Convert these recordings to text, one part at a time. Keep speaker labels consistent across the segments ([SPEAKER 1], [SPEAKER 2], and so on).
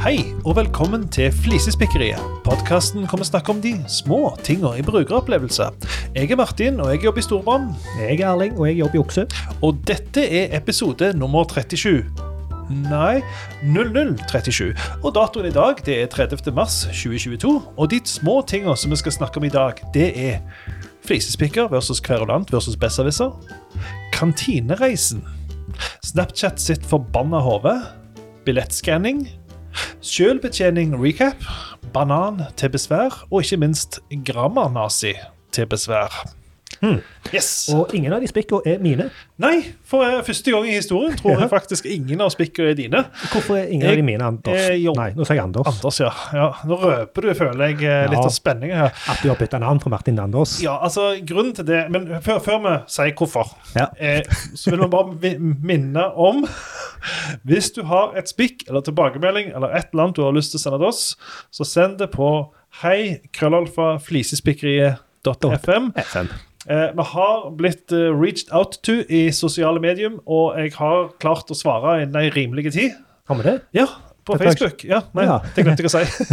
[SPEAKER 1] Hei, og velkommen til Flisespikkeriet. Podkasten kommer snakke om de små tinga i brukeropplevelse. Jeg er Martin, og jeg jobber i Storbrann.
[SPEAKER 2] Jeg er Erling, og jeg jobber i Okse.
[SPEAKER 1] Og dette er episode nummer 37. Nei, 0037. Og datoen i dag det er 30. mars 2022. Og de små tinga som vi skal snakke om i dag, det er flisespikker versus kverulant versus besserwisser. Kantinereisen. Snapchat sitt forbanna hode. Billettskanning. Sjølbetjening recap. Banan til besvær. Og ikke minst grammar-nazi til besvær. Yes.
[SPEAKER 2] Og ingen av de spikkene er mine.
[SPEAKER 1] Nei, for eh, første gang i historien tror
[SPEAKER 2] Ja.
[SPEAKER 1] jeg faktisk ingen av spikkene er dine.
[SPEAKER 2] Hvorfor er ingen
[SPEAKER 1] Jeg-
[SPEAKER 2] av de mine, Anders?
[SPEAKER 1] jeg jobb-
[SPEAKER 2] Nei, nå sa jeg Anders.
[SPEAKER 1] Anders, ja. ja. Nå røper du, føler jeg, eh, litt
[SPEAKER 2] Ja.
[SPEAKER 1] av spenningen her.
[SPEAKER 2] At du har bytta navn fra Martin til Anders.
[SPEAKER 1] Ja, altså, grunnen til det Men før, før vi sier hvorfor,
[SPEAKER 2] Ja.
[SPEAKER 1] eh, så vil vi bare vi- minne om Hvis du har et spikk eller tilbakemelding eller et eller annet du har lyst til å sende til oss, så send det på hei krøllalfa flisespikkeriet.fm.
[SPEAKER 2] FM.
[SPEAKER 1] Eh, vi har blitt eh, reached out to i sosiale medium, og jeg har klart å svare innen ei rimelig tid.
[SPEAKER 2] Har vi det?
[SPEAKER 1] Ja, på
[SPEAKER 2] Det er
[SPEAKER 1] Facebook. Ja, nei,
[SPEAKER 2] Ja.
[SPEAKER 1] Det glemte jeg å si.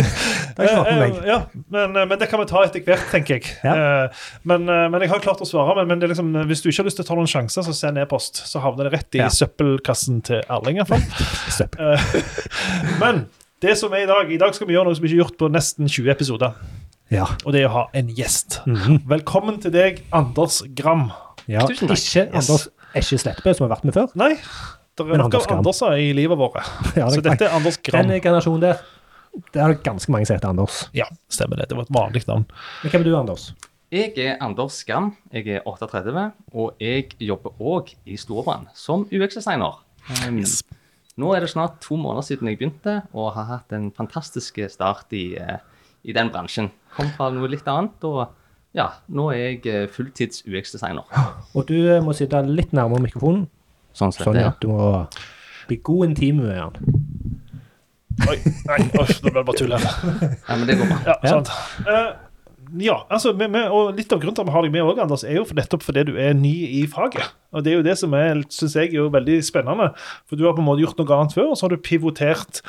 [SPEAKER 2] Det er ikke rart med
[SPEAKER 1] Eh,
[SPEAKER 2] meg.
[SPEAKER 1] ja, men, eh, men det kan vi ta etter hvert, tenker jeg.
[SPEAKER 2] Ja.
[SPEAKER 1] Eh, Men, eh, men jeg har klart å svare. Men, men det er liksom, eh, hvis du ikke har lyst til å ta noen sjanser, så send e-post. Så havner det rett i
[SPEAKER 2] Ja.
[SPEAKER 1] søppelkassen til Erling. i hvert fall.
[SPEAKER 2] Søppel.
[SPEAKER 1] Eh, men det som er i dag, i dag skal vi gjøre noe som vi ikke har gjort på nesten 20 episoder.
[SPEAKER 2] Ja.
[SPEAKER 1] Og det er å ha en gjest.
[SPEAKER 2] Mhm.
[SPEAKER 1] Velkommen til deg, Anders Gram.
[SPEAKER 2] ja.
[SPEAKER 1] Tusen takk.
[SPEAKER 2] Ikke
[SPEAKER 1] Yes.
[SPEAKER 2] Anders Esje Slettebø, som har vært med før.
[SPEAKER 1] Nei, det er
[SPEAKER 2] Men
[SPEAKER 1] nok av
[SPEAKER 2] Anders Gram.
[SPEAKER 1] Anderser i livet vårt.
[SPEAKER 2] Ja,
[SPEAKER 1] så
[SPEAKER 2] det er
[SPEAKER 1] dette er Anders Gram.
[SPEAKER 2] Den generasjonen der, der er det ganske mange som heter Anders.
[SPEAKER 1] Ja, stemmer det. Det var et vanlig navn.
[SPEAKER 2] Men hvem er du, Anders?
[SPEAKER 3] Jeg er Anders Skam, jeg er 38, og jeg jobber òg i Storbrann som UX-designer. Um, Nå er det snart to måneder siden jeg begynte, og har hatt en fantastisk start i, eh, i den bransjen. Kom fra noe litt annet, og ja, nå er jeg eh, fulltids UX-designer.
[SPEAKER 2] Og du eh, må sitte litt nærmere mikrofonen.
[SPEAKER 3] Sånn som
[SPEAKER 2] Sånn,
[SPEAKER 3] dette
[SPEAKER 2] ja.
[SPEAKER 3] er.
[SPEAKER 2] Du må bli god intim eh, med han.
[SPEAKER 1] Oi, nei, uff, nå ble det bare tull her.
[SPEAKER 3] Ja, men det går bra.
[SPEAKER 1] Ja, sant. Eh, ja, altså, vi- vi- og litt av grunnen til at vi har deg med òg, Anders, er jo for nettopp fordi du er ny i faget. Og det er jo det som syns jeg er jo veldig spennende. For du har på en måte gjort noe annet før, og så har du pivotert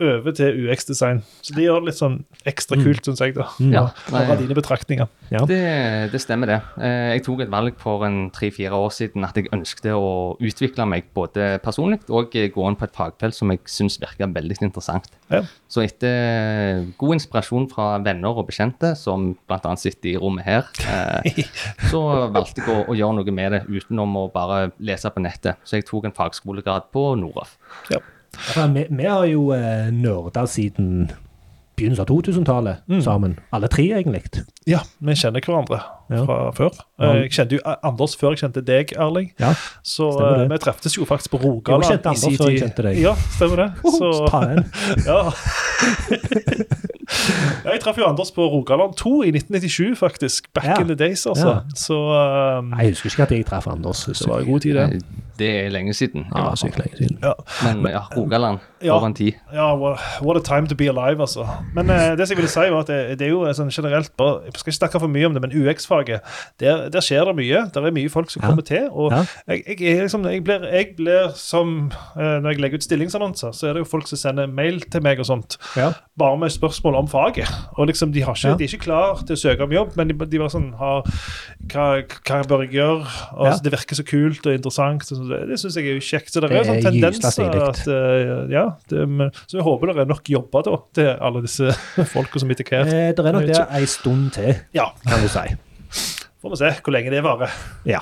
[SPEAKER 1] over til UX-design. Så det gjør det litt sånn ekstra
[SPEAKER 2] Mm.
[SPEAKER 1] kult, syns jeg, da.
[SPEAKER 3] Ja,
[SPEAKER 1] Hva er
[SPEAKER 3] nei,
[SPEAKER 1] dine betraktninger?
[SPEAKER 3] det, det stemmer, det. Eh, Jeg tok et valg for en tre-fire år siden at jeg ønsket å utvikle meg både personlig og eh, gå inn på et fagfelt som jeg syns virker veldig interessant.
[SPEAKER 1] Ja.
[SPEAKER 3] Så etter eh, god inspirasjon fra venner og bekjente, som bl.a. sitter i rommet her, eh, så valgte jeg å, å gjøre noe med det utenom å bare lese på nettet. Så jeg tok en fagskolegrad på Noraf.
[SPEAKER 1] Ja.
[SPEAKER 2] Ja, for Vi, vi har jo eh, nerda siden begynnelsen av 2000-tallet sammen. Alle tre, egentlig.
[SPEAKER 1] ja, vi kjenner hverandre
[SPEAKER 2] Ja.
[SPEAKER 1] fra før. Eh, Jeg kjente jo Anders før jeg kjente deg, Erling.
[SPEAKER 2] Ja.
[SPEAKER 1] Så
[SPEAKER 2] Stemmer det.
[SPEAKER 1] eh, vi treftes jo faktisk på
[SPEAKER 2] Jeg
[SPEAKER 1] Rogaland
[SPEAKER 2] kjente Anders før jeg kjente deg.
[SPEAKER 1] Ja, stemmer det. Så,
[SPEAKER 2] Ta en.
[SPEAKER 1] ja. Ja, Jeg traff jo Anders på Rogaland 2 i 1997, faktisk. Back
[SPEAKER 2] Ja.
[SPEAKER 1] in the days, altså.
[SPEAKER 2] Ja.
[SPEAKER 1] Så um,
[SPEAKER 2] Nei, jeg husker ikke at jeg traff Anders.
[SPEAKER 1] det var en god tid, det.
[SPEAKER 3] Eh, Det er lenge siden. i
[SPEAKER 2] Det var
[SPEAKER 3] hvert fall.
[SPEAKER 2] sykt lenge siden.
[SPEAKER 1] Ja.
[SPEAKER 3] Men ja, Rogaland
[SPEAKER 1] Ja.
[SPEAKER 3] over en tid.
[SPEAKER 1] Ja, wha- what a time to be alive, altså. Men eh, det som jeg ville si var at det, det er jo eh, sånn generelt bare, Jeg skal ikke snakke for mye om det, men UX-faget, der, der skjer det mye. Der er mye folk som
[SPEAKER 2] Ja.
[SPEAKER 1] kommer til. Og
[SPEAKER 2] Ja.
[SPEAKER 1] jeg, jeg, er liksom, jeg, blir, jeg blir som eh, Når jeg legger ut stillingsannonser, så er det jo folk som sender mail til meg og sånt.
[SPEAKER 2] Ja.
[SPEAKER 1] bare med spørsmål om faget. Og liksom, de, har ikke,
[SPEAKER 2] Ja.
[SPEAKER 1] de er ikke klar til å søke om jobb, men de, de bare sånn har, hva, hva bør jeg gjøre? Og
[SPEAKER 2] Ja.
[SPEAKER 1] så Det virker så kult og interessant. Og så det det syns jeg er jo kjekt. Så det,
[SPEAKER 2] Det
[SPEAKER 1] er jo sånn
[SPEAKER 2] er
[SPEAKER 1] tendens
[SPEAKER 2] gysla stilig.
[SPEAKER 1] at eh, ja, det, men- Så vi håper det er nok jobber da, til alle disse folka som etter hvert
[SPEAKER 2] Eh, Det er nok der ei stund til,
[SPEAKER 1] Ja,
[SPEAKER 2] kan du si.
[SPEAKER 1] får vi se hvor lenge det varer.
[SPEAKER 2] Ja.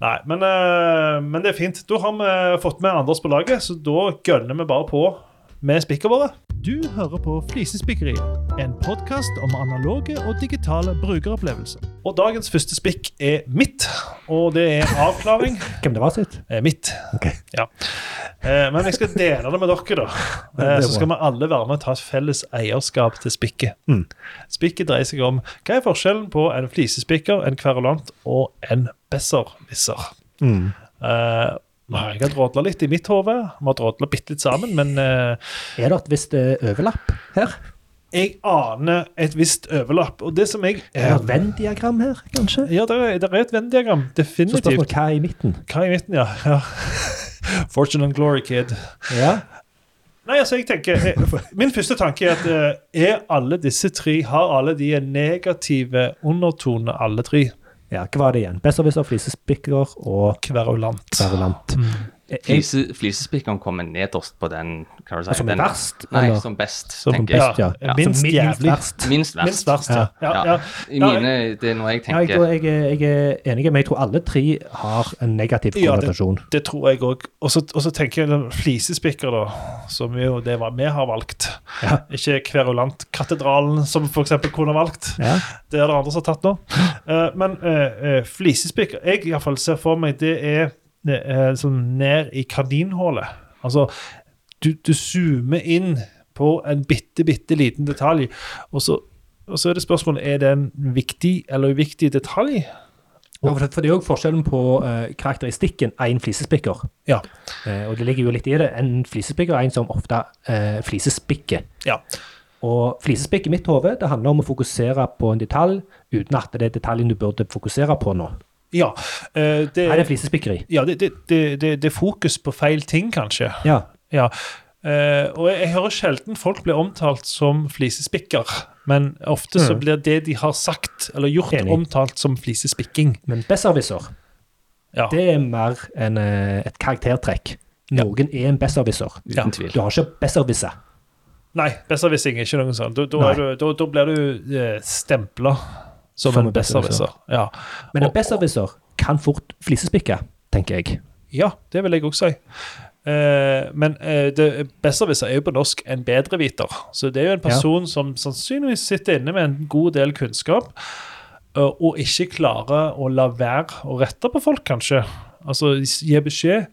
[SPEAKER 1] Nei, men, eh, men det er fint. Da har vi fått med Anders på laget, så da gønner vi bare på med spikkene våre. Du hører på Flisespikkeriet, en podkast om analoge og digitale brukeropplevelser. Og dagens første spikk er mitt, og det er avklaring.
[SPEAKER 2] Hvem det var sitt?
[SPEAKER 1] Eh, mitt.
[SPEAKER 2] Ok.
[SPEAKER 1] Ja. Eh, Men jeg skal dele det med dere, da.
[SPEAKER 2] det
[SPEAKER 1] Eh,
[SPEAKER 2] er
[SPEAKER 1] Så skal
[SPEAKER 2] bra.
[SPEAKER 1] vi alle være med og ta et felles eierskap til spikket.
[SPEAKER 2] Mm.
[SPEAKER 1] Spikket dreier seg om hva er forskjellen på en flisespikker, en kverulant og en besserwisser.
[SPEAKER 2] Mm.
[SPEAKER 1] Eh, nå har jeg har drodla litt i mitt hode. Vi har drodla bitte litt sammen, men eh,
[SPEAKER 2] Er det et visst eh, overlapp her?
[SPEAKER 1] jeg aner et visst overlapp. Og det som jeg
[SPEAKER 2] Er det et Venn-diagram her, kanskje?
[SPEAKER 1] Ja, der er, der er et Venn-diagram.
[SPEAKER 2] Så spørsmålet
[SPEAKER 1] Definitivt.
[SPEAKER 2] hva er i midten?
[SPEAKER 1] Hva i midten, ja. ja. Fortune and glory, kid.
[SPEAKER 2] Ja.
[SPEAKER 1] Nei, altså, jeg tenker jeg, Min første tanke er at eh, er alle disse tre Har alle de en negative undertone, alle tre?
[SPEAKER 2] Ja, hva var det igjen? Besserwisser, flisespikker og
[SPEAKER 1] Kverulant.
[SPEAKER 2] kverulant. Jeg- jeg-
[SPEAKER 3] Flise, flisespikkeren kommer nederst på den hva
[SPEAKER 1] Ah,
[SPEAKER 3] skal jeg si,
[SPEAKER 2] Som er
[SPEAKER 3] den-
[SPEAKER 2] verst,
[SPEAKER 3] Nei,
[SPEAKER 2] eller?
[SPEAKER 3] som best,
[SPEAKER 1] Som
[SPEAKER 3] tenker jeg.
[SPEAKER 2] best,
[SPEAKER 1] ja.
[SPEAKER 2] ja.
[SPEAKER 1] Minst
[SPEAKER 2] Som
[SPEAKER 1] jævlig.
[SPEAKER 2] verst.
[SPEAKER 3] Minst verst.
[SPEAKER 1] Minst verst, ja. ja, ja.
[SPEAKER 3] I mine, det er noe jeg
[SPEAKER 2] Ja, jeg,
[SPEAKER 3] tenker.
[SPEAKER 2] jeg, jeg er enig, men jeg tror alle tre har en negativ
[SPEAKER 1] Ja, det-
[SPEAKER 2] konnotasjon.
[SPEAKER 1] Det tror jeg òg. Og så og så tenker jeg den flisespikker, da, som jo det var, vi har valgt.
[SPEAKER 2] Ja.
[SPEAKER 1] Ikke Kverulantkatedralen, som for eksempel kunne valgt.
[SPEAKER 2] Ja.
[SPEAKER 1] Det er det andre som har tatt nå. Eh, men eh, eh, flisespikker Jeg i hvert fall ser for meg det er eh, sånn ned i kaninhullet. Altså, du, du zoomer inn på en bitte, bitte liten detalj, og så, og så er det spørsmålet er det en viktig eller uviktig detalj.
[SPEAKER 2] Ja, for, det- for det er jo forskjellen på eh, karakteristikken én flisespikker.
[SPEAKER 1] Ja.
[SPEAKER 2] Eh, og det ligger jo litt i det. En flisespikker er en som ofte eh, flisespikker.
[SPEAKER 1] ja.
[SPEAKER 2] Og flisespikk i mitt hode, det handler om å fokusere på en detalj uten at det er detaljen du burde fokusere på nå.
[SPEAKER 1] Ja, eh, det,
[SPEAKER 2] Er det flisespikkeri?
[SPEAKER 1] ja det, det, det, det, det er fokus på feil ting, kanskje.
[SPEAKER 2] Ja.
[SPEAKER 1] Ja. Eh, og jeg, jeg hører sjelden folk blir omtalt som flisespikker. Men ofte så
[SPEAKER 2] Mm.
[SPEAKER 1] blir det de har sagt eller gjort,
[SPEAKER 2] Enig.
[SPEAKER 1] omtalt som flisespikking.
[SPEAKER 2] Men besserwisser,
[SPEAKER 1] Ja.
[SPEAKER 2] det er mer en, eh, et karaktertrekk. Noen er en besserwisser.
[SPEAKER 1] Ja.
[SPEAKER 3] Uten tvil.
[SPEAKER 2] Du har ikke besserwisser.
[SPEAKER 1] Nei, besserwissing er ikke noe sånt. Da, da,
[SPEAKER 2] Nei.
[SPEAKER 1] er du, da, da blir du eh, stempla som,
[SPEAKER 2] Som
[SPEAKER 1] en
[SPEAKER 2] en liksom.
[SPEAKER 1] besserwisser. Ja.
[SPEAKER 2] Men en
[SPEAKER 1] Og-
[SPEAKER 2] besserwisser kan fort flisespikke, tenker jeg.
[SPEAKER 1] ja, det vil jeg også si. Eh, men eh, det- besserwisser er jo på norsk en bedreviter. Så det er jo en
[SPEAKER 2] Ja.
[SPEAKER 1] person som sannsynligvis sitter inne med en god del kunnskap, eh, og ikke klarer å la være å rette på folk, kanskje. Altså gi beskjed.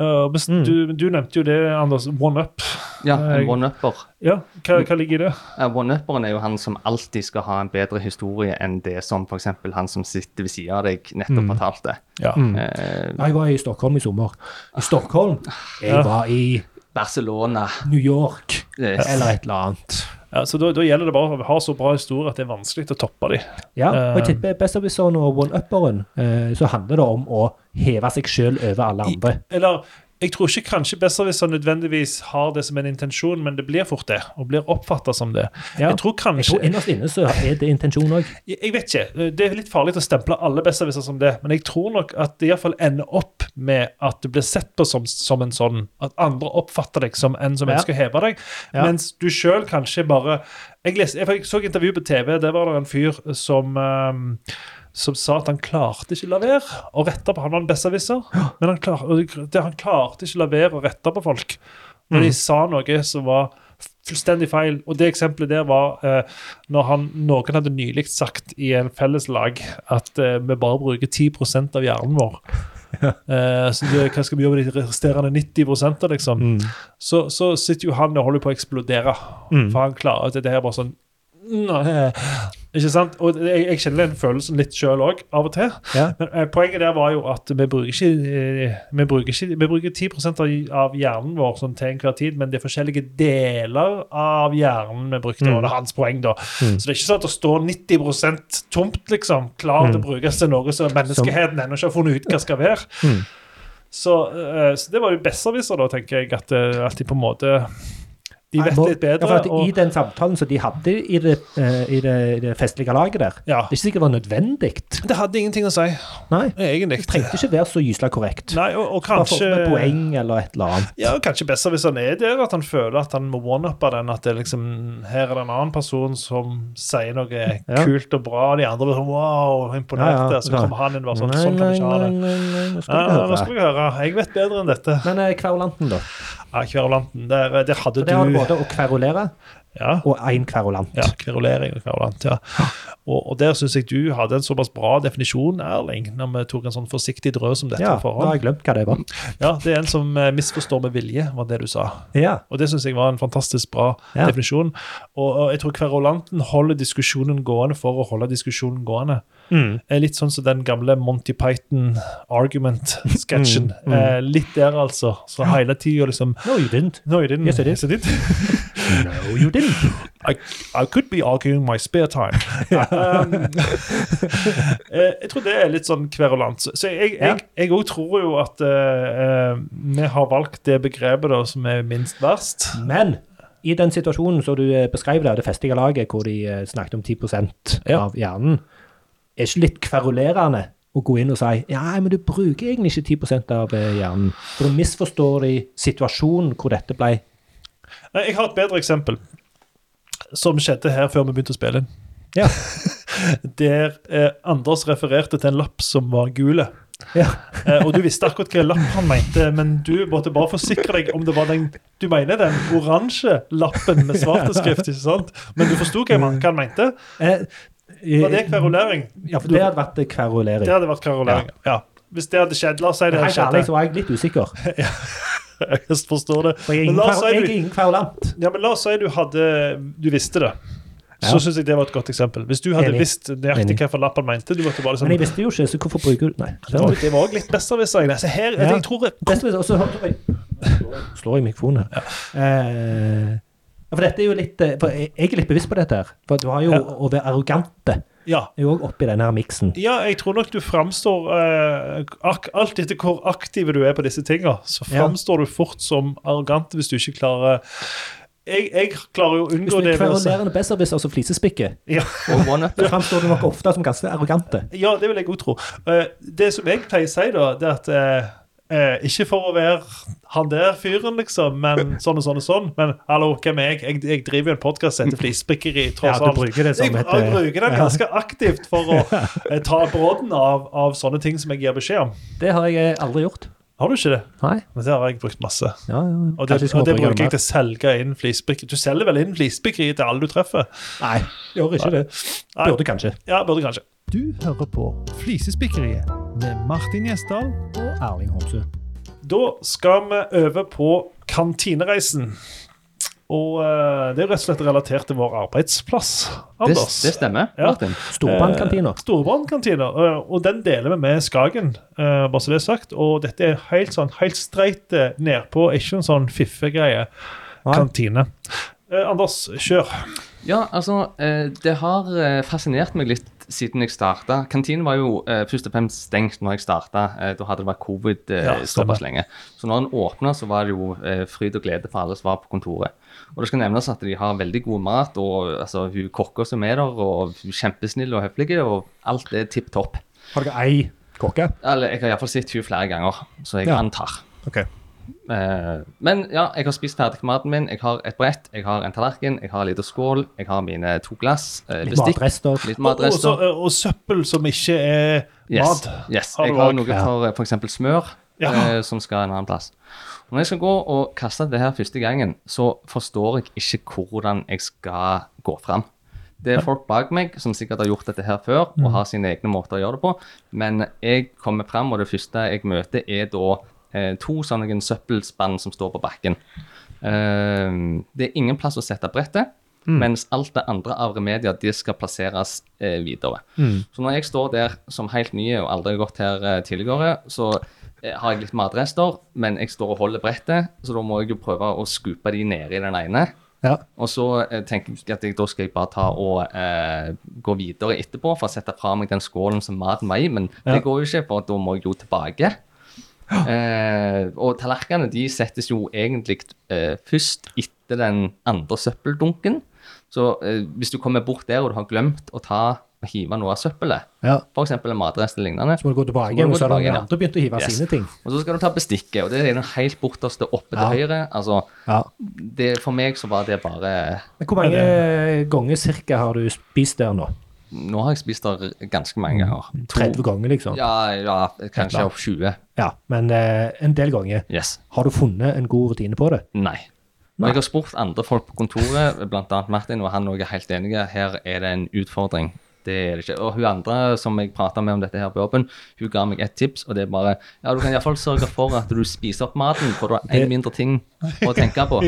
[SPEAKER 1] Eh, men s-
[SPEAKER 2] Mm.
[SPEAKER 1] du, du nevnte jo det, Anders. One up.
[SPEAKER 3] Ja,
[SPEAKER 1] Jeg-
[SPEAKER 3] en one-upper.
[SPEAKER 1] Ja, hva, hva ligger i det?
[SPEAKER 3] Eh, One-upperen er jo han som alltid skal ha en bedre historie enn det som f.eks. han som sitter ved siden av deg, nettopp
[SPEAKER 1] Mm.
[SPEAKER 3] fortalte.
[SPEAKER 1] Ja.
[SPEAKER 3] Eh,
[SPEAKER 2] Jeg var i Stockholm i sommer. I Stockholm?
[SPEAKER 1] Ja.
[SPEAKER 2] Jeg var i
[SPEAKER 3] Barcelona eh,
[SPEAKER 2] New York,
[SPEAKER 3] Yes.
[SPEAKER 2] eller et eller annet.
[SPEAKER 1] Ja, så da, da gjelder det bare å ha så bra historier at det er vanskelig å toppe dem.
[SPEAKER 2] Ja, og jeg
[SPEAKER 1] Eh,
[SPEAKER 2] tipper besserwisseren og one-upperen, eh, så handler det om å heve seg sjøl over alle andre.
[SPEAKER 1] Eller jeg tror ikke kanskje besserwisser nødvendigvis har det som en intensjon, men det blir fort det, og blir oppfatta som det.
[SPEAKER 2] Ja.
[SPEAKER 1] Jeg tror
[SPEAKER 2] Jeg
[SPEAKER 1] kanskje
[SPEAKER 2] tror innerst inne så er det intensjon òg.
[SPEAKER 1] jeg, jeg vet ikke. Det er litt farlig å stemple alle besserwisser som det, men jeg tror nok at det iallfall ender opp med at du blir sett på som, som en sånn. At andre oppfatter deg som en som
[SPEAKER 2] Ja.
[SPEAKER 1] ønsker å heve deg,
[SPEAKER 2] Ja.
[SPEAKER 1] mens du sjøl kanskje bare jeg, leste, jeg så et intervju på TV, der var det en fyr som ehm, som sa at han klarte ikke la være å rette på Han var en besserwisser, men han, klar, og det, han klarte ikke la være å rette på folk. Når de sa noe som var fullstendig feil. Og det eksempelet der var eh, når han, noen hadde nylig sagt i en felleslag at eh, vi bare bruker 10 av hjernen vår. Eh, så det, hva skal vi gjøre med de resterende 90 liksom? Så, så sitter jo han og holder på å eksplodere. For han klarer at det her er bare sånn Nei. Ikke sant? Og det- jeg, jeg kjenner den følelsen litt sjøl òg, av og til.
[SPEAKER 2] Ja.
[SPEAKER 1] Men eh, poenget der var jo at vi bruker ikke, eh, vi bruker ikke vi bruker 10 av, av hjernen vår sånn, til enhver tid, men det er forskjellige deler av hjernen vi brukte.
[SPEAKER 2] Mm.
[SPEAKER 1] Og det er hans poeng, da. Så det er ikke sånn at det står 90 tomt, liksom, klar til å brukes til noe som menneskeheten ennå ikke har funnet ut hva skal være.
[SPEAKER 2] Mm.
[SPEAKER 1] Så, eh, så det var jo besserwisser, da, tenker jeg, at, eh, at de på en måte De vet litt
[SPEAKER 2] Ja,
[SPEAKER 1] bedre.
[SPEAKER 2] for at I
[SPEAKER 1] og,
[SPEAKER 2] den samtalen som de hadde i det, eh, i det, i det festlige laget der,
[SPEAKER 1] ja.
[SPEAKER 2] det er ikke sikkert det var nødvendig.
[SPEAKER 1] Det hadde ingenting å si,
[SPEAKER 2] Nei.
[SPEAKER 1] egentlig.
[SPEAKER 2] Det trengte ikke være så gysla korrekt.
[SPEAKER 1] Nei, og, og
[SPEAKER 2] Bare for
[SPEAKER 1] kanskje
[SPEAKER 2] med poeng eller et eller annet.
[SPEAKER 1] Ja, og kanskje bedre hvis han er der, at han føler at han må one-uppe den. At det liksom, her er det en annen person som sier noe
[SPEAKER 2] Ja.
[SPEAKER 1] kult og bra, og de andre blir sånn wow, imponerte.
[SPEAKER 2] Ja, ja,
[SPEAKER 1] Så
[SPEAKER 2] ja.
[SPEAKER 1] kommer han inn og bare sånn Sånn kan vi ikke ha det.
[SPEAKER 2] nei, nei, nå
[SPEAKER 1] Ja,
[SPEAKER 2] skal
[SPEAKER 1] nå
[SPEAKER 2] du
[SPEAKER 1] skal
[SPEAKER 2] ikke høre.
[SPEAKER 1] vi høre. Jeg vet bedre enn dette.
[SPEAKER 2] Men eh, kverulanten, da.
[SPEAKER 1] Ja, Kverulanten. Der, der hadde
[SPEAKER 2] Så det har du
[SPEAKER 1] du
[SPEAKER 2] både å kverulere
[SPEAKER 1] ja.
[SPEAKER 2] og én kverulant.
[SPEAKER 1] Ja, kverulering og kverulant, ja. Og, og der syns jeg du hadde en såpass bra definisjon, Erling, når vi tok en sånn forsiktig drø som dette
[SPEAKER 2] Ja,
[SPEAKER 1] på
[SPEAKER 2] nå har
[SPEAKER 1] forhånd. Mm.
[SPEAKER 2] jeg glemt hva det var.
[SPEAKER 1] Ja, det er en som eh, misforstår med vilje, var det du sa.
[SPEAKER 2] Ja.
[SPEAKER 1] Og det syns jeg var en fantastisk bra
[SPEAKER 2] Ja.
[SPEAKER 1] definisjon. Og, og jeg tror kverulanten holder diskusjonen gående for å holde diskusjonen gående.
[SPEAKER 2] Mm.
[SPEAKER 1] Eh, Litt sånn som den gamle Monty Python argument-sketsjen.
[SPEAKER 2] Mm, mm.
[SPEAKER 1] Eh, litt der, altså. Så hele tida liksom
[SPEAKER 2] Nå er det vind.
[SPEAKER 1] Nå er det
[SPEAKER 2] Yes, it is.
[SPEAKER 1] Så ditt.
[SPEAKER 2] No, you didn't.
[SPEAKER 1] I, I could be arguing my spare time. um, eh, jeg tror det er litt sånn kverulant. Så jeg òg
[SPEAKER 2] Ja.
[SPEAKER 1] jeg, jeg også tror jo at eh, eh, vi har valgt det begrepet da, som er minst verst.
[SPEAKER 2] Men i den situasjonen som du eh, beskrev der, det festlige laget, hvor de eh, snakket om 10
[SPEAKER 1] Ja.
[SPEAKER 2] av hjernen, er ikke litt kverulerende å gå inn og si ja, men du bruker egentlig ikke 10 av eh, hjernen. For du misforstår de situasjonen hvor dette ble
[SPEAKER 1] Nei, jeg har et bedre eksempel, som skjedde her før vi begynte å spille inn.
[SPEAKER 2] Ja.
[SPEAKER 1] Der eh, Anders refererte til en lapp som var gul.
[SPEAKER 2] ja.
[SPEAKER 1] Eh, og du visste akkurat hvilken lapp han mente, men du måtte bare forsikre deg om det var den du mener den oransje lappen med svarte skrift. ikke sant? Men du forsto hva han hva han mente.
[SPEAKER 2] Eh,
[SPEAKER 1] Var det kverulering?
[SPEAKER 2] Ja, for det hadde vært eh, kverulering.
[SPEAKER 1] Det hadde vært kverulering. Ja. Hvis det hadde skjedd, la oss si det hadde
[SPEAKER 2] Helt
[SPEAKER 1] skjedd.
[SPEAKER 2] ærlig så var jeg litt usikker.
[SPEAKER 1] Jeg forstår det.
[SPEAKER 2] For jeg
[SPEAKER 1] Men
[SPEAKER 2] er ingen,
[SPEAKER 1] la oss
[SPEAKER 2] kver- jeg er
[SPEAKER 1] si du,
[SPEAKER 2] ingen kverulant.
[SPEAKER 1] ja, men la oss si du hadde Du visste det.
[SPEAKER 2] Ja.
[SPEAKER 1] Så syns jeg det var et godt eksempel. Hvis du hadde
[SPEAKER 2] Enig.
[SPEAKER 1] visst nøyaktig
[SPEAKER 2] Enig.
[SPEAKER 1] hvilken lapp han mente du måtte bare liksom,
[SPEAKER 2] Men jeg visste jo ikke, så hvorfor bruker du Nei.
[SPEAKER 1] Det var- Det var også litt besserwisser. Så her
[SPEAKER 2] Ja.
[SPEAKER 1] jeg tror jeg,
[SPEAKER 2] Best, og så hørte jeg Slår jeg mikrofonen her. Eh, ja, for dette er jo litt eh, for Jeg jeg er litt bevisst på dette her. For du har jo
[SPEAKER 1] Ja.
[SPEAKER 2] å være arrogante
[SPEAKER 1] Ja.
[SPEAKER 2] er jo òg oppi denne her miksen.
[SPEAKER 1] Ja, jeg tror nok du framstår eh, ak Alt etter hvor aktiv du er på disse tinga, så
[SPEAKER 2] Ja.
[SPEAKER 1] framstår du fort som arrogant hvis du ikke klarer Jeg, jeg klarer jo å
[SPEAKER 2] Hvis
[SPEAKER 1] unngå
[SPEAKER 2] du
[SPEAKER 1] det.
[SPEAKER 2] er
[SPEAKER 1] ved å si-
[SPEAKER 2] kverulerende besserwisser som flisespikker,
[SPEAKER 1] Ja,
[SPEAKER 3] Og one-up.
[SPEAKER 2] så framstår du nok ofte som ganske arrogante.
[SPEAKER 1] ja, det vil jeg òg tro. Eh, det som jeg pleier å si, da, det er at eh, eh, Ikke for å være han der fyren, liksom, men sånn og sånn og sånn. Men hallo, hvem er jeg? Jeg, jeg driver jo en podkast som heter Flisspikkeri, tross alt.
[SPEAKER 2] bruker det eh,
[SPEAKER 1] Jeg, jeg bruker den ganske aktivt for å eh, ta brodden av, av sånne ting som jeg gir beskjed om.
[SPEAKER 2] Det har jeg eh, aldri gjort.
[SPEAKER 1] Har du ikke det?
[SPEAKER 2] Nei.
[SPEAKER 1] Men det har jeg brukt masse.
[SPEAKER 2] Ja, ja, ja.
[SPEAKER 1] Og det,
[SPEAKER 2] Kanskje jeg skal
[SPEAKER 1] og det
[SPEAKER 2] bare
[SPEAKER 1] bruker
[SPEAKER 2] gjøre
[SPEAKER 1] jeg til å selge inn flisbrikker. Du selger vel inn flisbrikker til alle du treffer?
[SPEAKER 2] mer. Nei, gjør ikke det.
[SPEAKER 1] Nei.
[SPEAKER 2] Burde kanskje.
[SPEAKER 1] Ja, burde kanskje.
[SPEAKER 2] Du hører på
[SPEAKER 1] Flisespikkeriet med Martin Gjesdal.
[SPEAKER 2] Erling Homsø.
[SPEAKER 1] Da skal vi over på kantinereisen. Og eh, det er jo rett og slett relatert til vår arbeidsplass,
[SPEAKER 3] Det,
[SPEAKER 1] Anders.
[SPEAKER 3] det stemmer,
[SPEAKER 1] Ja.
[SPEAKER 3] Martin.
[SPEAKER 2] Storbandkantina.
[SPEAKER 1] Storbrannkantiner, eh, og den deler vi med Skagen, eh, bare så det er sagt. Og dette er helt sånn, helt streit eh, nedpå, ikke en sånn fiffegreie
[SPEAKER 2] Nei.
[SPEAKER 1] kantine. Eh, Anders, kjør.
[SPEAKER 3] Ja, altså, eh, det har eh, fascinert meg litt siden jeg starta. Kantinen var jo eh, først og fremst stengt når jeg starta. Eh, da hadde det vært covid eh,
[SPEAKER 1] Ja, stemmer.
[SPEAKER 3] såpass lenge. Så når den åpna, så var det jo eh, fryd og glede for alle som var på kontoret. Og det skal nevnes at de har veldig god mat, og altså, hun kokka som er der, og hun er kjempesnill og høflig, og alt er tipp topp.
[SPEAKER 2] Eh, Har dere ei kokke?
[SPEAKER 3] Eller jeg har iallfall sett hun flere ganger, så jeg
[SPEAKER 2] Ja.
[SPEAKER 3] antar.
[SPEAKER 2] Ok.
[SPEAKER 3] Eh, men ja, jeg har spist ferdig maten min. Jeg har et brett, jeg har en tallerken, jeg har en liten skål, jeg har mine to glass, eh,
[SPEAKER 2] Litt
[SPEAKER 3] bestikk,
[SPEAKER 2] matrester.
[SPEAKER 3] litt
[SPEAKER 1] Og, og, så,
[SPEAKER 3] matrester.
[SPEAKER 1] eh, og søppel som ikke er
[SPEAKER 3] Yes,
[SPEAKER 1] mat.
[SPEAKER 3] yes.
[SPEAKER 1] Har du
[SPEAKER 3] Jeg har
[SPEAKER 1] også?
[SPEAKER 3] noe
[SPEAKER 2] Ja.
[SPEAKER 3] for f.eks. smør,
[SPEAKER 1] Ja.
[SPEAKER 3] eh, som skal en annen plass. Og Når jeg skal gå og kaste det her første gangen, så forstår jeg ikke hvordan jeg skal gå fram. Det er folk bak meg som sikkert har gjort dette her før
[SPEAKER 1] Mm.
[SPEAKER 3] og har sine egne måter å gjøre det på, men jeg kommer fram, og det første jeg møter, er da eh, to sånne søppelspann som står på bakken. Eh, det er ingen plass å sette brettet, mens alt det andre av remedier de skal plasseres eh, videre. Så når jeg står der som helt ny og aldri har gått her eh, tidligere, så eh, har jeg litt matrester, men jeg står og holder brettet, så da må jeg jo prøve å skupe de ned i den ene.
[SPEAKER 2] Ja.
[SPEAKER 3] Og så eh, tenker jeg at jeg, da skal jeg bare ta og eh, gå videre etterpå for å sette fra meg den skålen som maten var i, men det går jo ikke, for da må jeg jo tilbake. Eh, og tallerkenene de settes jo egentlig eh, først etter den andre søppeldunken. Så eh, hvis du kommer bort der og du har glemt å ta og hive noe av søppelet,
[SPEAKER 2] Ja.
[SPEAKER 3] f.eks. en matrest eller lignende,
[SPEAKER 2] Så må du gå tilbake
[SPEAKER 3] Så må du
[SPEAKER 2] igjen,
[SPEAKER 3] gå
[SPEAKER 2] og så har
[SPEAKER 3] tilbake,
[SPEAKER 2] noen
[SPEAKER 3] ja.
[SPEAKER 2] andre begynt å hive
[SPEAKER 3] Yes.
[SPEAKER 2] sine ting.
[SPEAKER 3] og så skal du ta bestikket, og det er den helt borteste oppe til
[SPEAKER 2] Ja.
[SPEAKER 3] høyre. Altså,
[SPEAKER 2] Ja.
[SPEAKER 3] det, for meg så var det bare
[SPEAKER 2] Men hvor mange ganger cirka har du spist der nå?
[SPEAKER 3] Nå har jeg spist der ganske mange
[SPEAKER 2] Mm.
[SPEAKER 3] ganger. To-
[SPEAKER 2] 30 ganger, liksom?
[SPEAKER 3] Ja, ja kanskje opp 20.
[SPEAKER 2] Ja, Men eh, en del ganger.
[SPEAKER 3] Yes.
[SPEAKER 2] Har du funnet en god rutine på det?
[SPEAKER 3] Nei. Og
[SPEAKER 2] Nei.
[SPEAKER 3] jeg har spurt andre folk på kontoret, bl.a. Martin, og han også er helt enig. Her er det en utfordring. Det er det ikke. Og hun andre som jeg prata med om dette her på jobben, hun ga meg et tips, og det er bare Ja, du kan iallfall sørge for at du spiser opp maten, for du har
[SPEAKER 2] Eh.
[SPEAKER 3] én mindre ting å tenke på.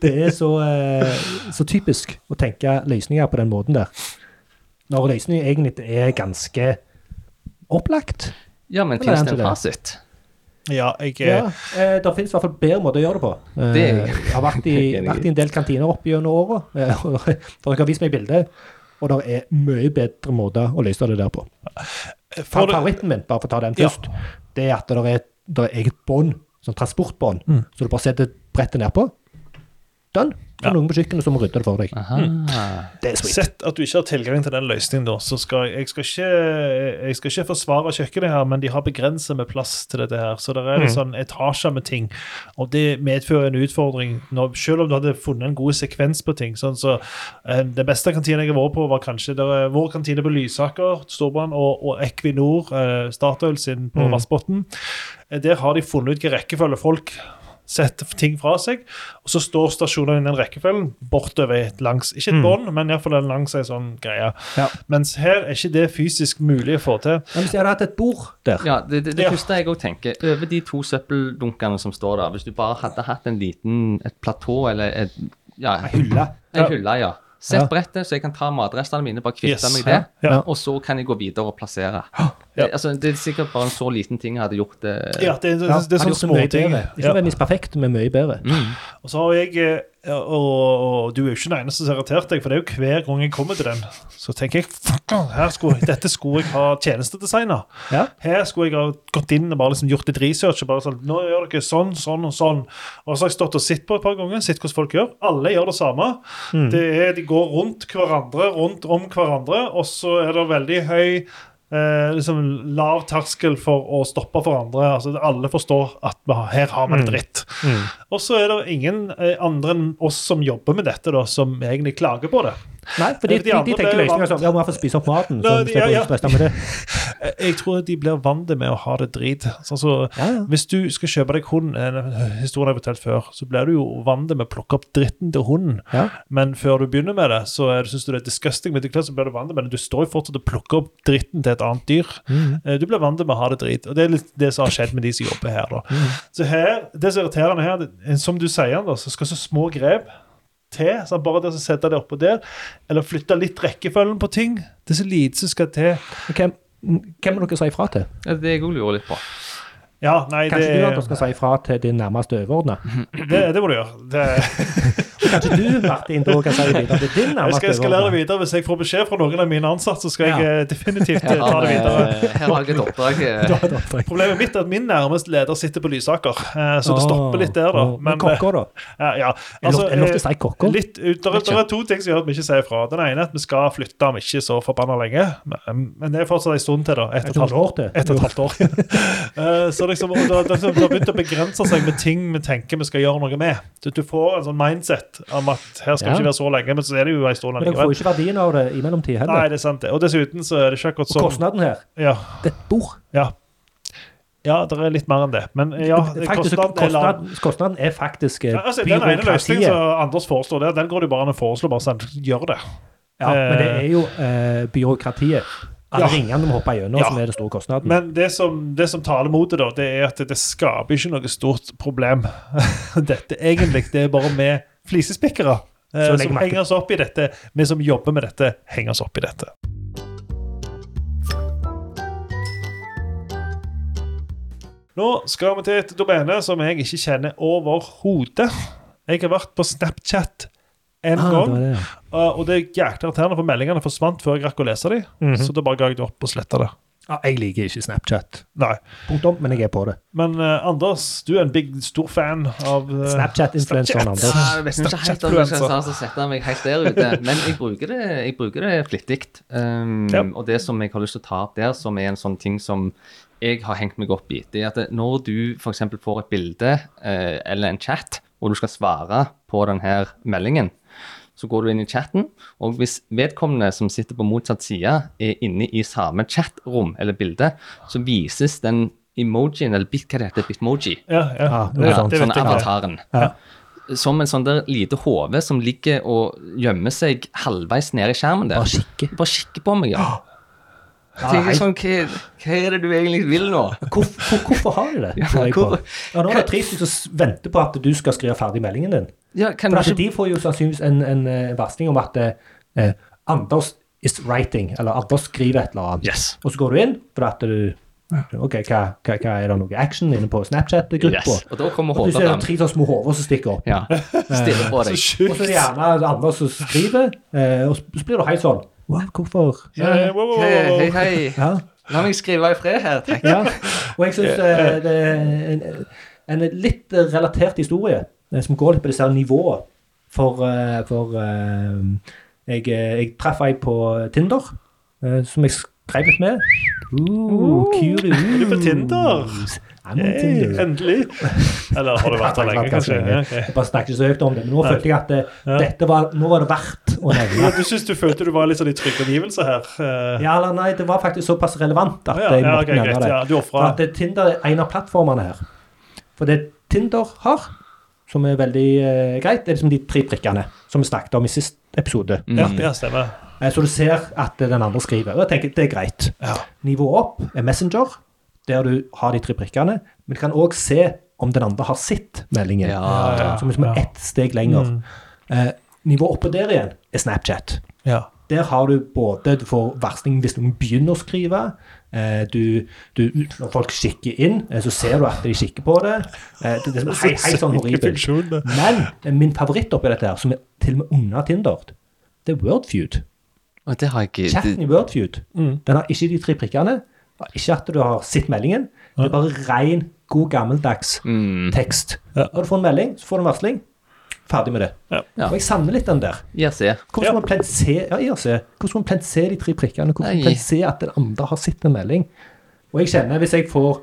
[SPEAKER 2] Det er så, eh, så typisk å tenke løsninger på den måten der. Når løsningen egentlig er ganske opplagt.
[SPEAKER 3] Ja, men
[SPEAKER 2] Eller
[SPEAKER 3] finnes det
[SPEAKER 2] er det det?
[SPEAKER 3] en fasit?
[SPEAKER 1] Ja, jeg eh,
[SPEAKER 2] Ja, eh, Det finnes i hvert fall bedre måter å gjøre det på. Eh,
[SPEAKER 3] Det er jeg-
[SPEAKER 2] jeg har vært i,
[SPEAKER 3] enig i.
[SPEAKER 2] vært i en del kantiner opp gjennom åra. eh, Dere har vist meg bilder, og det er mye bedre måter å løse det der på.
[SPEAKER 1] Eh, for,
[SPEAKER 2] Favoritten min, bare for å ta den
[SPEAKER 1] Ja.
[SPEAKER 2] først, det er at det er, det er eget bånd, sånn transportbånd,
[SPEAKER 1] Mm.
[SPEAKER 2] så du bare setter brettet nedpå. Done. Så
[SPEAKER 1] Ja. Mm.
[SPEAKER 2] noen på kjøkkenet som rydder det for deg. Det er sweet.
[SPEAKER 1] Sett at du ikke har tilgang til den løsningen, da, så skal jeg, jeg skal ikke, jeg skal ikke forsvare kjøkkenet her, men de har begrenset med plass til dette her. Så det er en
[SPEAKER 2] Mm.
[SPEAKER 1] sånn etasjer med ting, og det medfører en utfordring. Når, selv om du hadde funnet en god sekvens på ting. sånn så eh, Den beste kantinen jeg har vært på, var kanskje der, er vår kantine på Lysaker, Storbrann, og, og Equinor, eh, Statoil sin
[SPEAKER 2] Mm.
[SPEAKER 1] på Vassbotn. Eh, Der har de funnet ut hvilken rekkefølge folk setter ting fra seg, og så står stasjonene i den rekkefølgen bortover langs Ikke et bånd, men iallfall langs ei sånn greie.
[SPEAKER 2] Mm. Ja.
[SPEAKER 1] Mens her er ikke det fysisk mulig å få til.
[SPEAKER 2] Men hvis jeg hadde hatt et bord der
[SPEAKER 3] Ja, det, det, det
[SPEAKER 1] Ja.
[SPEAKER 3] første jeg òg tenker, over de to søppeldunkene som står der, hvis du bare hadde hatt en liten, et platå eller et, ja,
[SPEAKER 2] Ei hylle.
[SPEAKER 3] en hylle, ja. Sett
[SPEAKER 2] Ja.
[SPEAKER 3] brettet, så jeg kan ta matrestene mine, bare kvitte
[SPEAKER 1] Yes.
[SPEAKER 3] meg det,
[SPEAKER 1] Ja.
[SPEAKER 3] og så kan jeg gå videre og plassere.
[SPEAKER 1] Ja.
[SPEAKER 3] Det, altså, det er sikkert bare en så liten ting jeg hadde gjort eh, det
[SPEAKER 1] Ja, det, det,
[SPEAKER 2] Eh, Ja,
[SPEAKER 1] det, det er sånne
[SPEAKER 2] hadde gjort det mye
[SPEAKER 1] småting.
[SPEAKER 2] bedre. Ikke
[SPEAKER 1] Ja. Mm.
[SPEAKER 2] nødvendigvis perfekt, men mye bedre.
[SPEAKER 1] Og så har jeg eh, og, og du er jo ikke den eneste som har irritert deg, for det er jo hver gang jeg kommer til den, så tenker jeg "Fucker, her skulle, dette skulle jeg ha tjenestedesigner.
[SPEAKER 2] Ja.
[SPEAKER 1] Her skulle jeg ha gått inn og bare liksom gjort et research. og bare sånn, nå gjør dere sånn, sånn og sånn. Og så har jeg stått og sett på et par ganger, sett hvordan folk gjør. Alle gjør det samme. Det er, de går rundt hverandre, rundt om hverandre, og så er det veldig høy eh, liksom Lav terskel for å stoppe for andre. altså Alle forstår at vi har- her har vi det dritt. Og så er det ingen eh, andre enn oss som jobber med dette, da, som egentlig klager på det.
[SPEAKER 2] Nei, for de,
[SPEAKER 1] Ja, for de
[SPEAKER 2] de, de
[SPEAKER 1] andre
[SPEAKER 2] tenker
[SPEAKER 1] ble vant.
[SPEAKER 2] løsninger som Ja, må i hvert fall spise opp maten.
[SPEAKER 1] Nei,
[SPEAKER 2] så
[SPEAKER 1] de-
[SPEAKER 2] slipper
[SPEAKER 1] ja,
[SPEAKER 2] vi
[SPEAKER 1] ja.
[SPEAKER 2] å stresse med det.
[SPEAKER 1] Jeg- Eh, Jeg tror de blir vant med å ha det drit. Sånn så,
[SPEAKER 2] Ja, ja.
[SPEAKER 1] Hvis du skal kjøpe deg hund, en historie jeg har fortalt før, så blir du jo vant med å plukke opp dritten til hunden.
[SPEAKER 2] Ja.
[SPEAKER 1] Men før du begynner med det, så er- syns du det er disgusting, men etter hvert så blir du vant med det. Du står jo fortsatt og plukker opp dritten til et annet dyr.
[SPEAKER 2] Mhm.
[SPEAKER 1] Eh, Du blir vant med å ha det drit. Og det er litt det som har skjedd med de som jobber her. da.
[SPEAKER 2] Mhm.
[SPEAKER 1] Så her, Det som er irriterende her, det, som du sier, da, så skal så små grep til. sant? Bare det å sette det oppå der, eller flytte litt rekkefølgen på ting. Det er så lite som skal til.
[SPEAKER 2] Men Hvem, hvem må dere si ifra til?
[SPEAKER 3] Ja, Det jeg òg lurer litt på.
[SPEAKER 1] Ja, nei,
[SPEAKER 2] Kanskje
[SPEAKER 1] det,
[SPEAKER 2] du Anders, skal si ifra til din nærmeste overordna?
[SPEAKER 1] det, det må du gjøre. Det,
[SPEAKER 2] Kanskje du, Martin, da kan si videre
[SPEAKER 1] jeg
[SPEAKER 2] til din
[SPEAKER 1] skal
[SPEAKER 2] nærmeste
[SPEAKER 1] eskalere det
[SPEAKER 2] overordna?
[SPEAKER 1] videre. Hvis jeg får beskjed fra noen av mine ansatte, så skal jeg
[SPEAKER 2] Ja.
[SPEAKER 1] eh, definitivt eh,
[SPEAKER 3] Her
[SPEAKER 1] ta
[SPEAKER 3] har,
[SPEAKER 1] det videre.
[SPEAKER 3] vi- her har jeg et oppdrag. eh,
[SPEAKER 1] Problemet mitt er at min nærmeste leder sitter på Lysaker, eh, så det stopper litt der, da.
[SPEAKER 2] Men, men
[SPEAKER 1] eh,
[SPEAKER 2] kokker, da?
[SPEAKER 1] ja, ja.
[SPEAKER 2] Er det lov-
[SPEAKER 1] Altså,
[SPEAKER 2] er det lov til å
[SPEAKER 1] eh,
[SPEAKER 2] si kokker?
[SPEAKER 1] Litt, ut- der, der er to ting som gjør at vi ikke sier fra. Den ene er at vi skal flytte om ikke så forbanna lenge. Men, men det er fortsatt en stund til, da. Et og et
[SPEAKER 2] Et
[SPEAKER 1] halvt år.
[SPEAKER 2] år til?
[SPEAKER 1] Et og et halvt år. Eh, så liksom, og det, det, det har begynt å begrense seg med ting vi tenker vi skal gjøre noe med. Du, du får en sånn mindset om at her skal vi
[SPEAKER 2] Ja.
[SPEAKER 1] ikke være så lenge, men så er det jo en stund
[SPEAKER 2] Men dere får
[SPEAKER 1] likevel.
[SPEAKER 2] jo ikke verdien av det i
[SPEAKER 1] Nei,
[SPEAKER 2] mellomtid heller.
[SPEAKER 1] det er sant. det. Og dessuten så er det ikke akkurat
[SPEAKER 2] Og
[SPEAKER 1] sånn
[SPEAKER 2] kostnaden her,
[SPEAKER 1] ja,
[SPEAKER 2] det er et bord.
[SPEAKER 1] ja. ja, det er litt mer enn det. Men ja,
[SPEAKER 2] Faktisk,
[SPEAKER 1] kostnaden er lav.
[SPEAKER 2] kostnaden, kostnaden er faktisk eh,
[SPEAKER 1] Ja, altså, den ene løsningen
[SPEAKER 2] byråkratiet.
[SPEAKER 1] som Anders foreslår der, den går det jo bare an å foreslå. Bare sånn, gjør det.
[SPEAKER 2] Ja, men det
[SPEAKER 1] eh,
[SPEAKER 2] er jo eh, byråkratiet. Alle
[SPEAKER 1] Ja.
[SPEAKER 2] ringene må hoppe gjennom,
[SPEAKER 1] Ja.
[SPEAKER 2] som er den store kostnaden.
[SPEAKER 1] Men det som, det som taler mot det, da, det er at det skaper ikke noe stort problem. dette egentlig, det er bare vi flisespikkere eh,
[SPEAKER 2] Så legg
[SPEAKER 1] som
[SPEAKER 2] merke-
[SPEAKER 1] henger oss opp i dette. Vi som jobber med dette, henger oss opp i dette. Nå skal vi til et domene som jeg ikke kjenner overhodet. Jeg har vært på Snapchat en
[SPEAKER 2] Ah, det
[SPEAKER 1] gang.
[SPEAKER 2] var det, ja.
[SPEAKER 1] Uh, og det er jækla irriterende, for meldingene forsvant før jeg rakk å lese dem.
[SPEAKER 2] Mhm.
[SPEAKER 1] Så da bare ga jeg det opp og sletta det.
[SPEAKER 2] Ja, jeg liker ikke Snapchat.
[SPEAKER 1] Nei.
[SPEAKER 2] Punktum, men jeg er på det.
[SPEAKER 1] Men eh, Anders, du er en big, stor fan av
[SPEAKER 2] Øh,
[SPEAKER 1] eh,
[SPEAKER 2] Snapchat-influenseren
[SPEAKER 1] Snapchat.
[SPEAKER 2] Anders.
[SPEAKER 3] Ja, jeg vet ikke helt om jeg skal
[SPEAKER 1] Snapchat-influencer.
[SPEAKER 3] starte å sette meg helt der ute, men jeg bruker det, jeg bruker det flittig. Um,
[SPEAKER 1] Ja.
[SPEAKER 3] Og det som jeg har lyst til å ta opp der, som er en sånn ting som jeg har hengt meg opp i, det er at når du f.eks. får et bilde eh, eller en chat, og du skal svare på denne meldingen, så går du inn i chatten, og hvis vedkommende som sitter på motsatt side, er inne i samme chatrom eller bilde, så vises den emojien, eller bit, hva det heter, bitmoji.
[SPEAKER 1] Ja, ja.
[SPEAKER 2] Ja, noe
[SPEAKER 1] ja,
[SPEAKER 2] sånt.
[SPEAKER 1] det
[SPEAKER 3] Sånn
[SPEAKER 1] vet jeg.
[SPEAKER 3] avataren.
[SPEAKER 2] Ja.
[SPEAKER 3] Som en sånn der lite hode som ligger og gjemmer seg halvveis ned i skjermen der.
[SPEAKER 2] Bare kikke.
[SPEAKER 3] Bare kikke på meg, ja.
[SPEAKER 2] Ja,
[SPEAKER 3] Tenker
[SPEAKER 2] nei.
[SPEAKER 3] sånn, hva, hva er det du egentlig vil nå?
[SPEAKER 2] Hvor, hvor, hvorfor har de det? lurer jeg på.
[SPEAKER 3] hvor-
[SPEAKER 2] ja, nå er det tre stykker som venter på at du skal skrive ferdig meldingen din.
[SPEAKER 3] Ja, kan
[SPEAKER 2] For
[SPEAKER 3] du
[SPEAKER 2] at
[SPEAKER 3] ikke...
[SPEAKER 2] De får jo sannsynligvis en, en eh, varsling om at eh, Anders is writing, eller Anders skriver et eller annet.
[SPEAKER 3] Yes.
[SPEAKER 2] Og så går du inn, for at du Ok, hva, hva, hva Er det noe action inne på Snapchat-gruppa?
[SPEAKER 3] Yes. Og da kommer
[SPEAKER 2] Du ser
[SPEAKER 3] Hordaland.
[SPEAKER 2] tre sånne små hoder som stikker opp.
[SPEAKER 3] Ja. Stille på
[SPEAKER 1] Så
[SPEAKER 2] Og så
[SPEAKER 3] deg.
[SPEAKER 2] er det
[SPEAKER 1] sjukt.
[SPEAKER 2] gjerne det andre som skriver, eh, og så blir du helt sånn Wow, hvorfor? Eh,
[SPEAKER 1] Ja, ja, wow, wow,
[SPEAKER 3] Hei,
[SPEAKER 1] wow,
[SPEAKER 3] hei,
[SPEAKER 1] wow.
[SPEAKER 3] hei.
[SPEAKER 2] Ja.
[SPEAKER 3] La meg skrive i fred her. Takk.
[SPEAKER 2] ja. Og jeg syns eh, det er en, en litt relatert historie eh, som går litt på disse her nivåene. For, eh, for eh, jeg, eh, jeg traff ei på Tinder eh, som jeg skrev litt med. Uh, Kuri.
[SPEAKER 1] Er du på Tinder?
[SPEAKER 2] I'm on
[SPEAKER 1] Hey,
[SPEAKER 2] Tinder.
[SPEAKER 1] endelig. Eller har du vært der lenge, kanskje? Ja, ok.
[SPEAKER 2] Jeg bare snakket ikke så høyt om det, men nå følte jeg at det,
[SPEAKER 1] Ja.
[SPEAKER 2] dette var, nå var det verdt å nevne.
[SPEAKER 1] Ja, du syns du følte du var litt sånn i trygg omgivelse her? eh.
[SPEAKER 2] Ja, eller nei, det var faktisk såpass relevant at
[SPEAKER 1] Ja,
[SPEAKER 2] jeg
[SPEAKER 1] ja,
[SPEAKER 2] måtte
[SPEAKER 1] ok,
[SPEAKER 2] nevne
[SPEAKER 1] greit.
[SPEAKER 2] det.
[SPEAKER 1] Ja, du
[SPEAKER 2] For
[SPEAKER 1] ofra.
[SPEAKER 2] at det, Tinder er en av plattformene her. For det Tinder har, som er veldig eh, greit, er liksom de tre prikkene som vi snakket om i sist episode.
[SPEAKER 3] Mm.
[SPEAKER 1] Ja, ja, stemmer.
[SPEAKER 2] Eh, så du ser at eh, den andre skriver. Og jeg tenker det er greit.
[SPEAKER 1] Ja.
[SPEAKER 2] Nivå opp er Messenger, der du har de tre prikkene. Men du kan òg se om den andre har sett meldingen.
[SPEAKER 3] Ja,
[SPEAKER 1] ja,
[SPEAKER 2] Som liksom
[SPEAKER 1] ja.
[SPEAKER 2] er ett steg lenger. Eh, nivå oppå der igjen er Snapchat.
[SPEAKER 1] Ja.
[SPEAKER 2] Der har du både Du får varsling hvis noen begynner å skrive. eh, Du, du, når folk kikker inn, eh, så ser du at de kikker på det. Eh, Det, det er helt, helt sånn horribelt.
[SPEAKER 1] funksjon, det.
[SPEAKER 2] Men eh, min favoritt oppi dette, her, som er til og med under Tinder, det er Wordfeud.
[SPEAKER 3] Og det har jeg
[SPEAKER 2] Chatten
[SPEAKER 3] ikke
[SPEAKER 2] i Wordfeud. Den har ikke de tre prikkene. har Ikke at du har sett meldingen. Det er bare ren, god, gammeldags
[SPEAKER 3] mm.
[SPEAKER 2] tekst.
[SPEAKER 1] Ja.
[SPEAKER 2] Når du får en melding, så får du en varsling. Ferdig med det.
[SPEAKER 1] Ja.
[SPEAKER 3] Ja.
[SPEAKER 2] Og jeg savner litt den der.
[SPEAKER 3] Jeg ser.
[SPEAKER 2] Hvordan
[SPEAKER 1] Ja.
[SPEAKER 2] skal man plent se, ja, IRC, hvordan skal man plent se de tre prikkene? Hvordan skal man
[SPEAKER 3] Nei.
[SPEAKER 2] plent se at den andre har sett en melding? Og jeg kjenner, hvis jeg får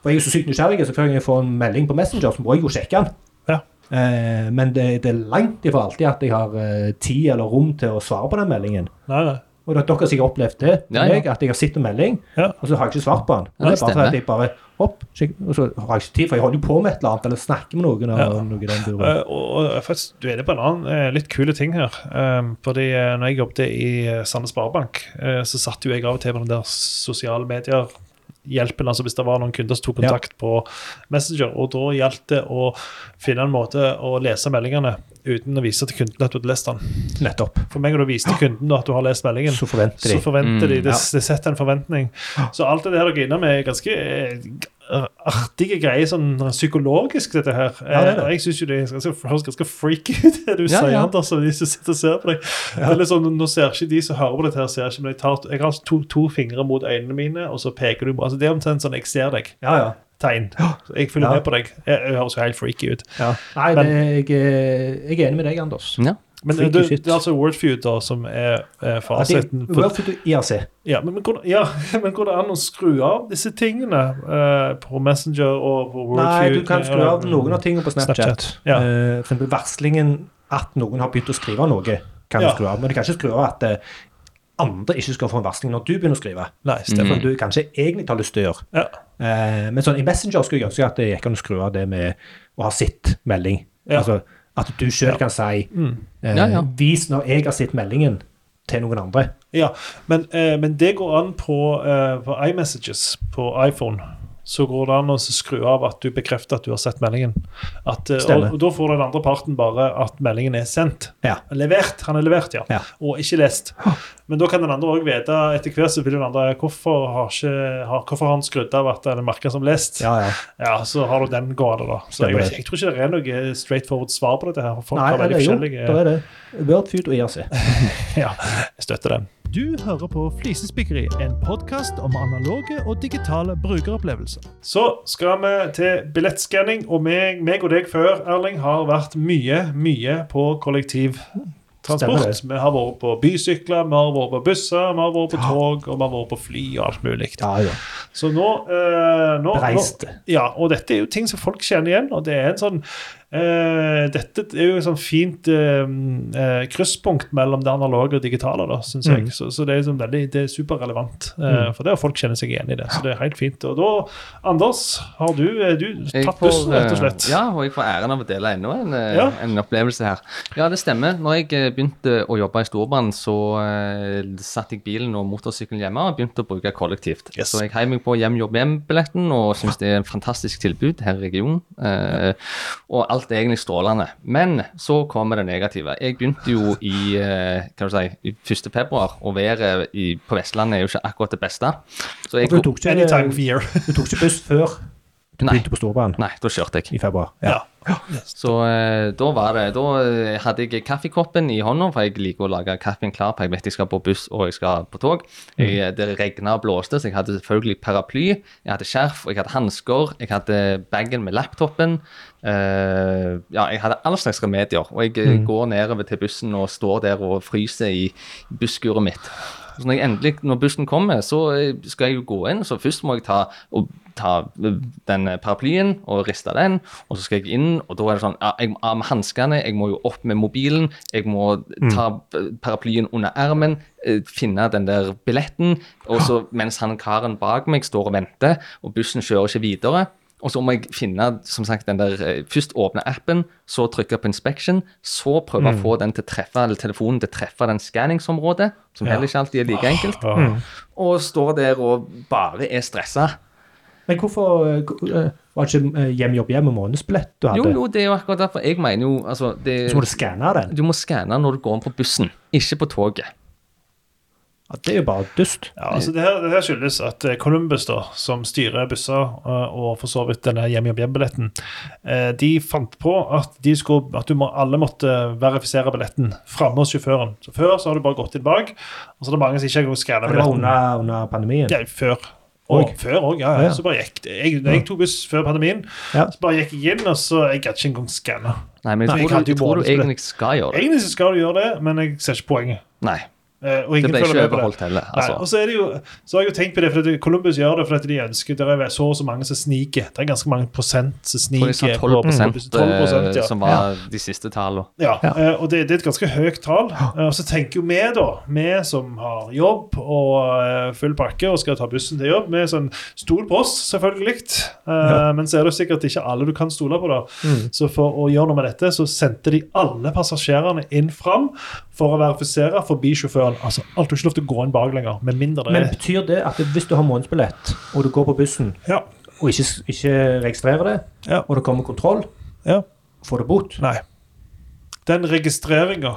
[SPEAKER 2] For jeg er jo så sykt nysgjerrig, så før jeg får en melding på Messenger, så må jeg jo sjekke den.
[SPEAKER 1] Ja.
[SPEAKER 2] Eh, men det, det er langt ifra alltid at jeg har eh, tid eller rom til å svare på den meldingen.
[SPEAKER 1] Nei, nei.
[SPEAKER 2] Og dere har sikkert opplevd det,
[SPEAKER 3] Ja, ja.
[SPEAKER 2] Jeg, at jeg har sett en melding,
[SPEAKER 1] Ja.
[SPEAKER 2] og så har jeg ikke svart på den. Og det er
[SPEAKER 3] Ja, det
[SPEAKER 2] bare for
[SPEAKER 3] stemmer.
[SPEAKER 2] at jeg bare opp, sjekk, og så har jeg ikke tid, for jeg holder jo på med et eller annet, eller snakker med noen. eller
[SPEAKER 1] Ja.
[SPEAKER 2] noe i den duren.
[SPEAKER 1] Eh, og, og faktisk, du er inne på en annen eh, litt kule ting her. Um, fordi eh, når jeg jobbet i eh, Sandnes Sparebank, eh, så satt jo jeg av og til på den der sosiale medier hjelpen, altså Hvis det var noen kunder som tok
[SPEAKER 2] Ja.
[SPEAKER 1] kontakt på Messenger. og Da gjaldt det å finne en måte å lese meldingene uten å vise til kunden at du hadde lest den.
[SPEAKER 2] Nettopp.
[SPEAKER 1] For meg og du viste kunden at du har lest meldingen,
[SPEAKER 2] Så forventer de.
[SPEAKER 1] så forventer de.
[SPEAKER 3] Mm,
[SPEAKER 1] Det, det setter en forventning. Så alt det her dere er inne med, er ganske eh, artige greier, sånn psykologisk, dette her.
[SPEAKER 2] Ja, det er det.
[SPEAKER 1] Eh, og Jeg syns jo det er ganske- høres ganske freaky ut, det du
[SPEAKER 3] Ja,
[SPEAKER 1] sier,
[SPEAKER 3] ja.
[SPEAKER 1] Anders, og de som sitter og ser på deg. Det er litt sånn, nå ser ikke de som hører på dette, her, ser ikke, men jeg, tar, jeg har to, to fingre mot øynene mine, og så peker du på altså Det er omtrent sånn 'jeg ser deg'-tegn.
[SPEAKER 2] Ja, ja.
[SPEAKER 1] Jeg følger
[SPEAKER 2] Ja.
[SPEAKER 1] med på deg. Jeg, jeg høres jo helt freaky ut.
[SPEAKER 2] Nei,
[SPEAKER 1] Men-
[SPEAKER 2] det, jeg, eh, jeg er enig med deg, Anders.
[SPEAKER 3] Ja.
[SPEAKER 1] Men eh,
[SPEAKER 2] Freaky
[SPEAKER 1] du,
[SPEAKER 2] shit.
[SPEAKER 1] det er altså Wordfeud da, som er, er fasiten. på-
[SPEAKER 2] Wordfeud og IRC.
[SPEAKER 1] Ja, men, men, går, det- ja, men går det an å skru av disse tingene eh, på Messenger og på Wordfeud?
[SPEAKER 2] Nei, du kan skru av noen av tingene på Snapchat.
[SPEAKER 1] Snapchat, ja.
[SPEAKER 2] Eh, for eksempel varslingen at noen har begynt å skrive noe, kan
[SPEAKER 1] Ja.
[SPEAKER 2] du skru av. Men du kan ikke skru av at eh, andre ikke skal få en varsling når du begynner å skrive.
[SPEAKER 1] Nei,
[SPEAKER 2] For
[SPEAKER 1] Stefan.
[SPEAKER 2] du kanskje egentlig har lyst til å gjøre.
[SPEAKER 1] Ja.
[SPEAKER 2] Eh, men sånn, i Messenger skulle jeg ønske at det gikk an å skru av det med å ha sitt melding.
[SPEAKER 1] Ja. Mm.
[SPEAKER 2] Altså at du sjøl kan si eh,
[SPEAKER 3] Ja, ja.
[SPEAKER 2] Vis når jeg har sett meldingen til noen andre.
[SPEAKER 1] ja men, eh, men det går an på, eh, på iMessages på iPhone. Så går det an å skru av at du bekrefter at du har sett meldingen. At, eh,
[SPEAKER 2] Stemmer.
[SPEAKER 1] og, og da får den andre parten bare at meldingen er sendt.
[SPEAKER 2] Ja.
[SPEAKER 1] Levert. Han er levert, ja.
[SPEAKER 2] Ja.
[SPEAKER 1] Og ikke lest. Men da kan den andre òg vite etter hvert så vil den andre, hvorfor har, ikke, har, hvorfor har han skrudd av at den er merka som lest.
[SPEAKER 2] Ja, ja.
[SPEAKER 1] Ja, så har du den gående, da. Så jeg,
[SPEAKER 2] Stemmer
[SPEAKER 1] vet-
[SPEAKER 2] det.
[SPEAKER 1] jeg tror ikke det er noe straightforward svar på dette. her. Folk
[SPEAKER 2] Nei,
[SPEAKER 1] har
[SPEAKER 2] det
[SPEAKER 1] veldig
[SPEAKER 2] er jo,
[SPEAKER 1] forskjellige...
[SPEAKER 2] det er det. Wordfeud og E IRC.
[SPEAKER 1] Ja, jeg støtter den. Du hører på Flisespikkeri, en podkast om analoge og digitale brukeropplevelser. Så skal vi til billettskanning, og meg, meg og deg før, Erling, har vært mye, mye på
[SPEAKER 2] Stemmer
[SPEAKER 1] kollektivtransport.
[SPEAKER 2] det.
[SPEAKER 1] Vi har vært på bysykler, vi har vært på busser, vi har vært på tog, og vi har vært på fly og alt mulig.
[SPEAKER 2] Ja, ja.
[SPEAKER 1] Så nå, eh, nå
[SPEAKER 2] Bereist.
[SPEAKER 1] nå- Ja, og dette er jo ting som folk kjenner igjen. Og det er en sånn eh, Dette er jo et sånn fint eh, eh, krysspunkt mellom det analoge og digitale, da, syns jeg. Så, så det er, sånn veldig, det er superrelevant. Eh, for det er folk kjenner seg igjen i det. Så det er helt fint. Og da, Anders, har du, eh, du
[SPEAKER 3] Jeg
[SPEAKER 1] tatt
[SPEAKER 3] får,
[SPEAKER 1] bussen, rett og slett?
[SPEAKER 3] eh, Ja, og jeg får æren av å dele enda en, eh,
[SPEAKER 1] Ja.
[SPEAKER 3] en opplevelse her. Ja, det stemmer. Når jeg eh, begynte å jobbe i Storbanen, så eh, satt jeg bilen og motorsykkelen hjemme og begynte å bruke kollektivt.
[SPEAKER 1] Yes.
[SPEAKER 3] Så jeg heiv meg på hjem-jobb-hjem-billetten og syns det er en fantastisk tilbud her i regionen. Eh, og alt egentlig strålende. Men så kommer det negative. Jeg begynte jo i eh, hva skal du si, 1. februar, og været i, på Vestlandet er jo ikke akkurat det beste. Så jeg
[SPEAKER 2] For du tok ikke,
[SPEAKER 1] Anytime of year.
[SPEAKER 2] du tok ikke buss før du
[SPEAKER 3] Nei.
[SPEAKER 2] begynte på Storbanen
[SPEAKER 3] Nei, da kjørte jeg.
[SPEAKER 2] i februar.
[SPEAKER 1] Ja.
[SPEAKER 3] Så eh, da var det Da eh, hadde jeg kaffekoppen i hånda, for jeg liker å lage kaffen klar, for jeg vet jeg skal på buss og jeg skal på tog. Jeg, eh, Det regna og blåste, så jeg hadde selvfølgelig paraply, jeg hadde skjerf, og jeg hadde hansker, jeg hadde bagen med laptopen. eh, ja, jeg hadde all slags remedier. Og jeg eh, går nedover til bussen og står der og fryser i busskuret mitt. Så når, jeg endelig, når bussen kommer, så eh, skal jeg jo gå inn, så først må jeg ta og ta eh, den paraplyen og riste den, og så skal jeg inn, og da er det sånn ja, Jeg må av med hanskene, jeg må jo opp med mobilen, jeg må ta eh, paraplyen under armen, eh, finne den der billetten, og så mens han karen bak meg står og venter, og bussen kjører ikke videre. Og så må jeg finne som sagt, den der, eh, først åpne appen, så trykke på inspection, så prøve å få den til å treffe, eller telefonen til å treffe den skanningsområdet, som heller ikke alltid er like enkelt. Og står der og bare er stressa.
[SPEAKER 2] Men hvorfor eh, hvor- eh, var det ikke eh, hjem, jobb, hjem og månedsbillett du hadde?
[SPEAKER 3] Jo, jo, det er jo akkurat derfor. Jeg mener jo altså, det,
[SPEAKER 2] Så må du skanne den?
[SPEAKER 3] Du må skanne når du går inn på bussen, ikke på toget.
[SPEAKER 2] Ja, det er jo bare dust.
[SPEAKER 1] Ja, altså det, her, det her skyldes at eh, Columbus, da, som styrer busser eh, og for så vidt denne hjem-hjem-hjem-billetten, eh, de fant på at, de skulle, at du må, alle måtte verifisere billetten framme hos sjåføren. Så Før så har du bare gått inn bak, og så er det mange som ikke engang skanner
[SPEAKER 2] Det var
[SPEAKER 1] billetten.
[SPEAKER 2] under, under pandemien.
[SPEAKER 1] Ja, før. Og
[SPEAKER 2] Og?
[SPEAKER 1] før òg, ja,
[SPEAKER 2] Ja,
[SPEAKER 1] ja.
[SPEAKER 2] ja.
[SPEAKER 1] Så bare gikk det. Jeg, jeg tok buss før pandemien,
[SPEAKER 2] Ja.
[SPEAKER 1] så bare gikk jeg inn, og så jeg gadd ikke engang skanne.
[SPEAKER 3] Nei, men
[SPEAKER 1] Nei,
[SPEAKER 3] jeg
[SPEAKER 1] jeg
[SPEAKER 3] tror,
[SPEAKER 1] hadde
[SPEAKER 3] du,
[SPEAKER 1] jo
[SPEAKER 3] jeg tror du
[SPEAKER 1] måned for det.
[SPEAKER 3] egentlig skal gjøre det.
[SPEAKER 1] Egentlig så skal du gjøre det, men jeg ser ikke poenget.
[SPEAKER 3] Nei,
[SPEAKER 1] Eh, og ingen
[SPEAKER 3] det ble
[SPEAKER 1] følger med
[SPEAKER 3] ikke
[SPEAKER 1] på
[SPEAKER 3] overholdt heller.
[SPEAKER 1] Nei, og
[SPEAKER 3] Altså.
[SPEAKER 1] så, er det jo, så har jeg jo tenkt på det, for at Columbus gjør det fordi de ønsker Det er så og så mange som sniker. Det er ganske mange prosent som
[SPEAKER 3] Jeg tror jeg sa
[SPEAKER 1] sniker.
[SPEAKER 3] 12,
[SPEAKER 1] på- 12%, ja.
[SPEAKER 3] som var de siste tallene.
[SPEAKER 1] Ja, eh, og det, det er et ganske høyt tall. Eh, Og så tenker jo vi, da, vi som har jobb og eh, full pakke og skal ta bussen til jobb, vi er sånn Stol på oss, selvfølgelig. Eh, Men så er det jo sikkert ikke alle du kan stole på, da.
[SPEAKER 3] Mm.
[SPEAKER 1] Så for å gjøre noe med dette, så sendte de alle passasjerene inn fram for å verifisere forbi sjåføren. Altså, alt du har ikke lov til å gå inn bak lenger, med mindre det
[SPEAKER 2] Men
[SPEAKER 1] er
[SPEAKER 2] betyr det at hvis du har månedsbillett, og du går på bussen
[SPEAKER 1] Ja.
[SPEAKER 2] og ikke, ikke registrerer det,
[SPEAKER 1] Ja.
[SPEAKER 2] og det kommer kontroll,
[SPEAKER 1] ja.
[SPEAKER 2] får du bot?
[SPEAKER 1] Nei. Den registreringa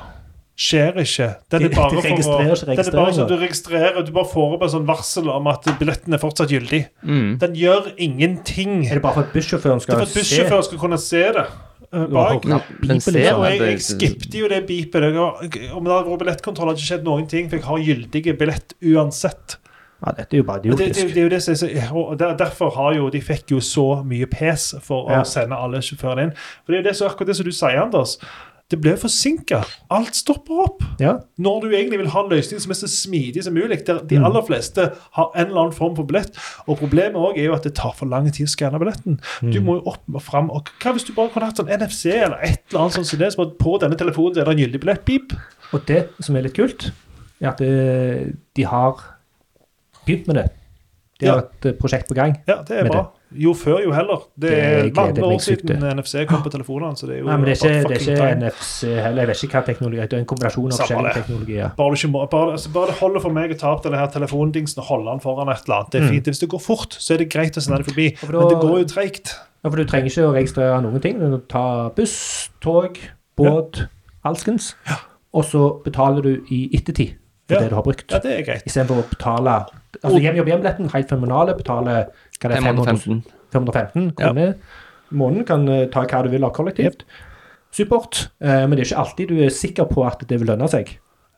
[SPEAKER 1] skjer ikke. Den er
[SPEAKER 2] De-
[SPEAKER 1] bare
[SPEAKER 2] de
[SPEAKER 1] for å,
[SPEAKER 2] registrerer ikke
[SPEAKER 1] den er bare sånn
[SPEAKER 2] registreringer.
[SPEAKER 1] at du registrerer Du bare får opp en sånn varsel om at billetten er fortsatt gyldig.
[SPEAKER 3] Mm.
[SPEAKER 1] Den gjør ingenting.
[SPEAKER 2] Er det bare for at bussjåføren
[SPEAKER 1] Det er
[SPEAKER 2] skal
[SPEAKER 1] for at bussjåføren skal kunne se det eh, bak.
[SPEAKER 3] Ja, den ser
[SPEAKER 1] Og liksom. jeg,
[SPEAKER 3] det-
[SPEAKER 1] jeg skippte jo det beepet. Jeg har- Om det hadde vært billettkontroll, hadde det ikke skjedd noen ting, for jeg har gyldige billett uansett.
[SPEAKER 2] Ja, dette er jo bare
[SPEAKER 1] Og Det, det,
[SPEAKER 2] idiotisk.
[SPEAKER 1] det er jo det som er så- og der, derfor har jo de fikk jo så mye pes for å
[SPEAKER 2] Ja.
[SPEAKER 1] sende alle sjåførene inn. For det er jo det som, akkurat det som du sier, Anders. Det ble forsinka. Alt stopper opp.
[SPEAKER 2] Ja.
[SPEAKER 1] Når du egentlig vil ha en løsning som er så smidig som mulig, der de aller fleste har en eller annen form for billett. Og problemet også er jo at det tar for lang tid å skanne billetten. Du må jo opp og fram. Og hva hvis du bare kunne hatt sånn NFC eller et eller annet sånt som det, som at på denne telefonen er det en gyldig billett? Pip.
[SPEAKER 2] Og det som er litt kult, er at eh, de har begynt med det. De har
[SPEAKER 1] Ja.
[SPEAKER 2] et eh, prosjekt på gang.
[SPEAKER 1] Ja, det er
[SPEAKER 2] Med
[SPEAKER 1] bra. Jo før, jo heller. Det
[SPEAKER 2] Det
[SPEAKER 1] er
[SPEAKER 2] gleder
[SPEAKER 1] mange år
[SPEAKER 2] meg sykt,
[SPEAKER 1] siden
[SPEAKER 2] det.
[SPEAKER 1] NFC kom på telefonene. så det er jo
[SPEAKER 2] Nei, men det er
[SPEAKER 1] bare
[SPEAKER 2] ikke, det er
[SPEAKER 1] fucking
[SPEAKER 2] ikke
[SPEAKER 1] time.
[SPEAKER 2] NFC heller. Jeg vet ikke hva teknologi Det er en kombinasjon av
[SPEAKER 1] Samme
[SPEAKER 2] forskjellige
[SPEAKER 1] det.
[SPEAKER 2] teknologier.
[SPEAKER 1] Bare, du ikke må, bare, altså, bare det holder for meg å ta opp denne her telefondingsen og holde den foran et eller annet. Det er fint. Hvis det går fort, så er det greit å sende det forbi.
[SPEAKER 2] Mm. for da-
[SPEAKER 1] Men det går jo treigt.
[SPEAKER 2] Ja, for du trenger ikke å registrere noen ting. Du tar buss, tog, båt, alskens. Og så betaler du i ettertid for
[SPEAKER 1] Ja.
[SPEAKER 2] det du har brukt.
[SPEAKER 1] Ja, det er greit.
[SPEAKER 2] Istedenfor å betale altså
[SPEAKER 1] Og-
[SPEAKER 2] hjem jobb hjem-billetten, helt fenomenale, betaler hva det er, 500,
[SPEAKER 3] 515.
[SPEAKER 2] 515 kroner i måneden. Kan eh, ta hva du vil av kollektivt. Support. Eh, men det er ikke alltid du er sikker på at det vil lønne seg.
[SPEAKER 1] Nei,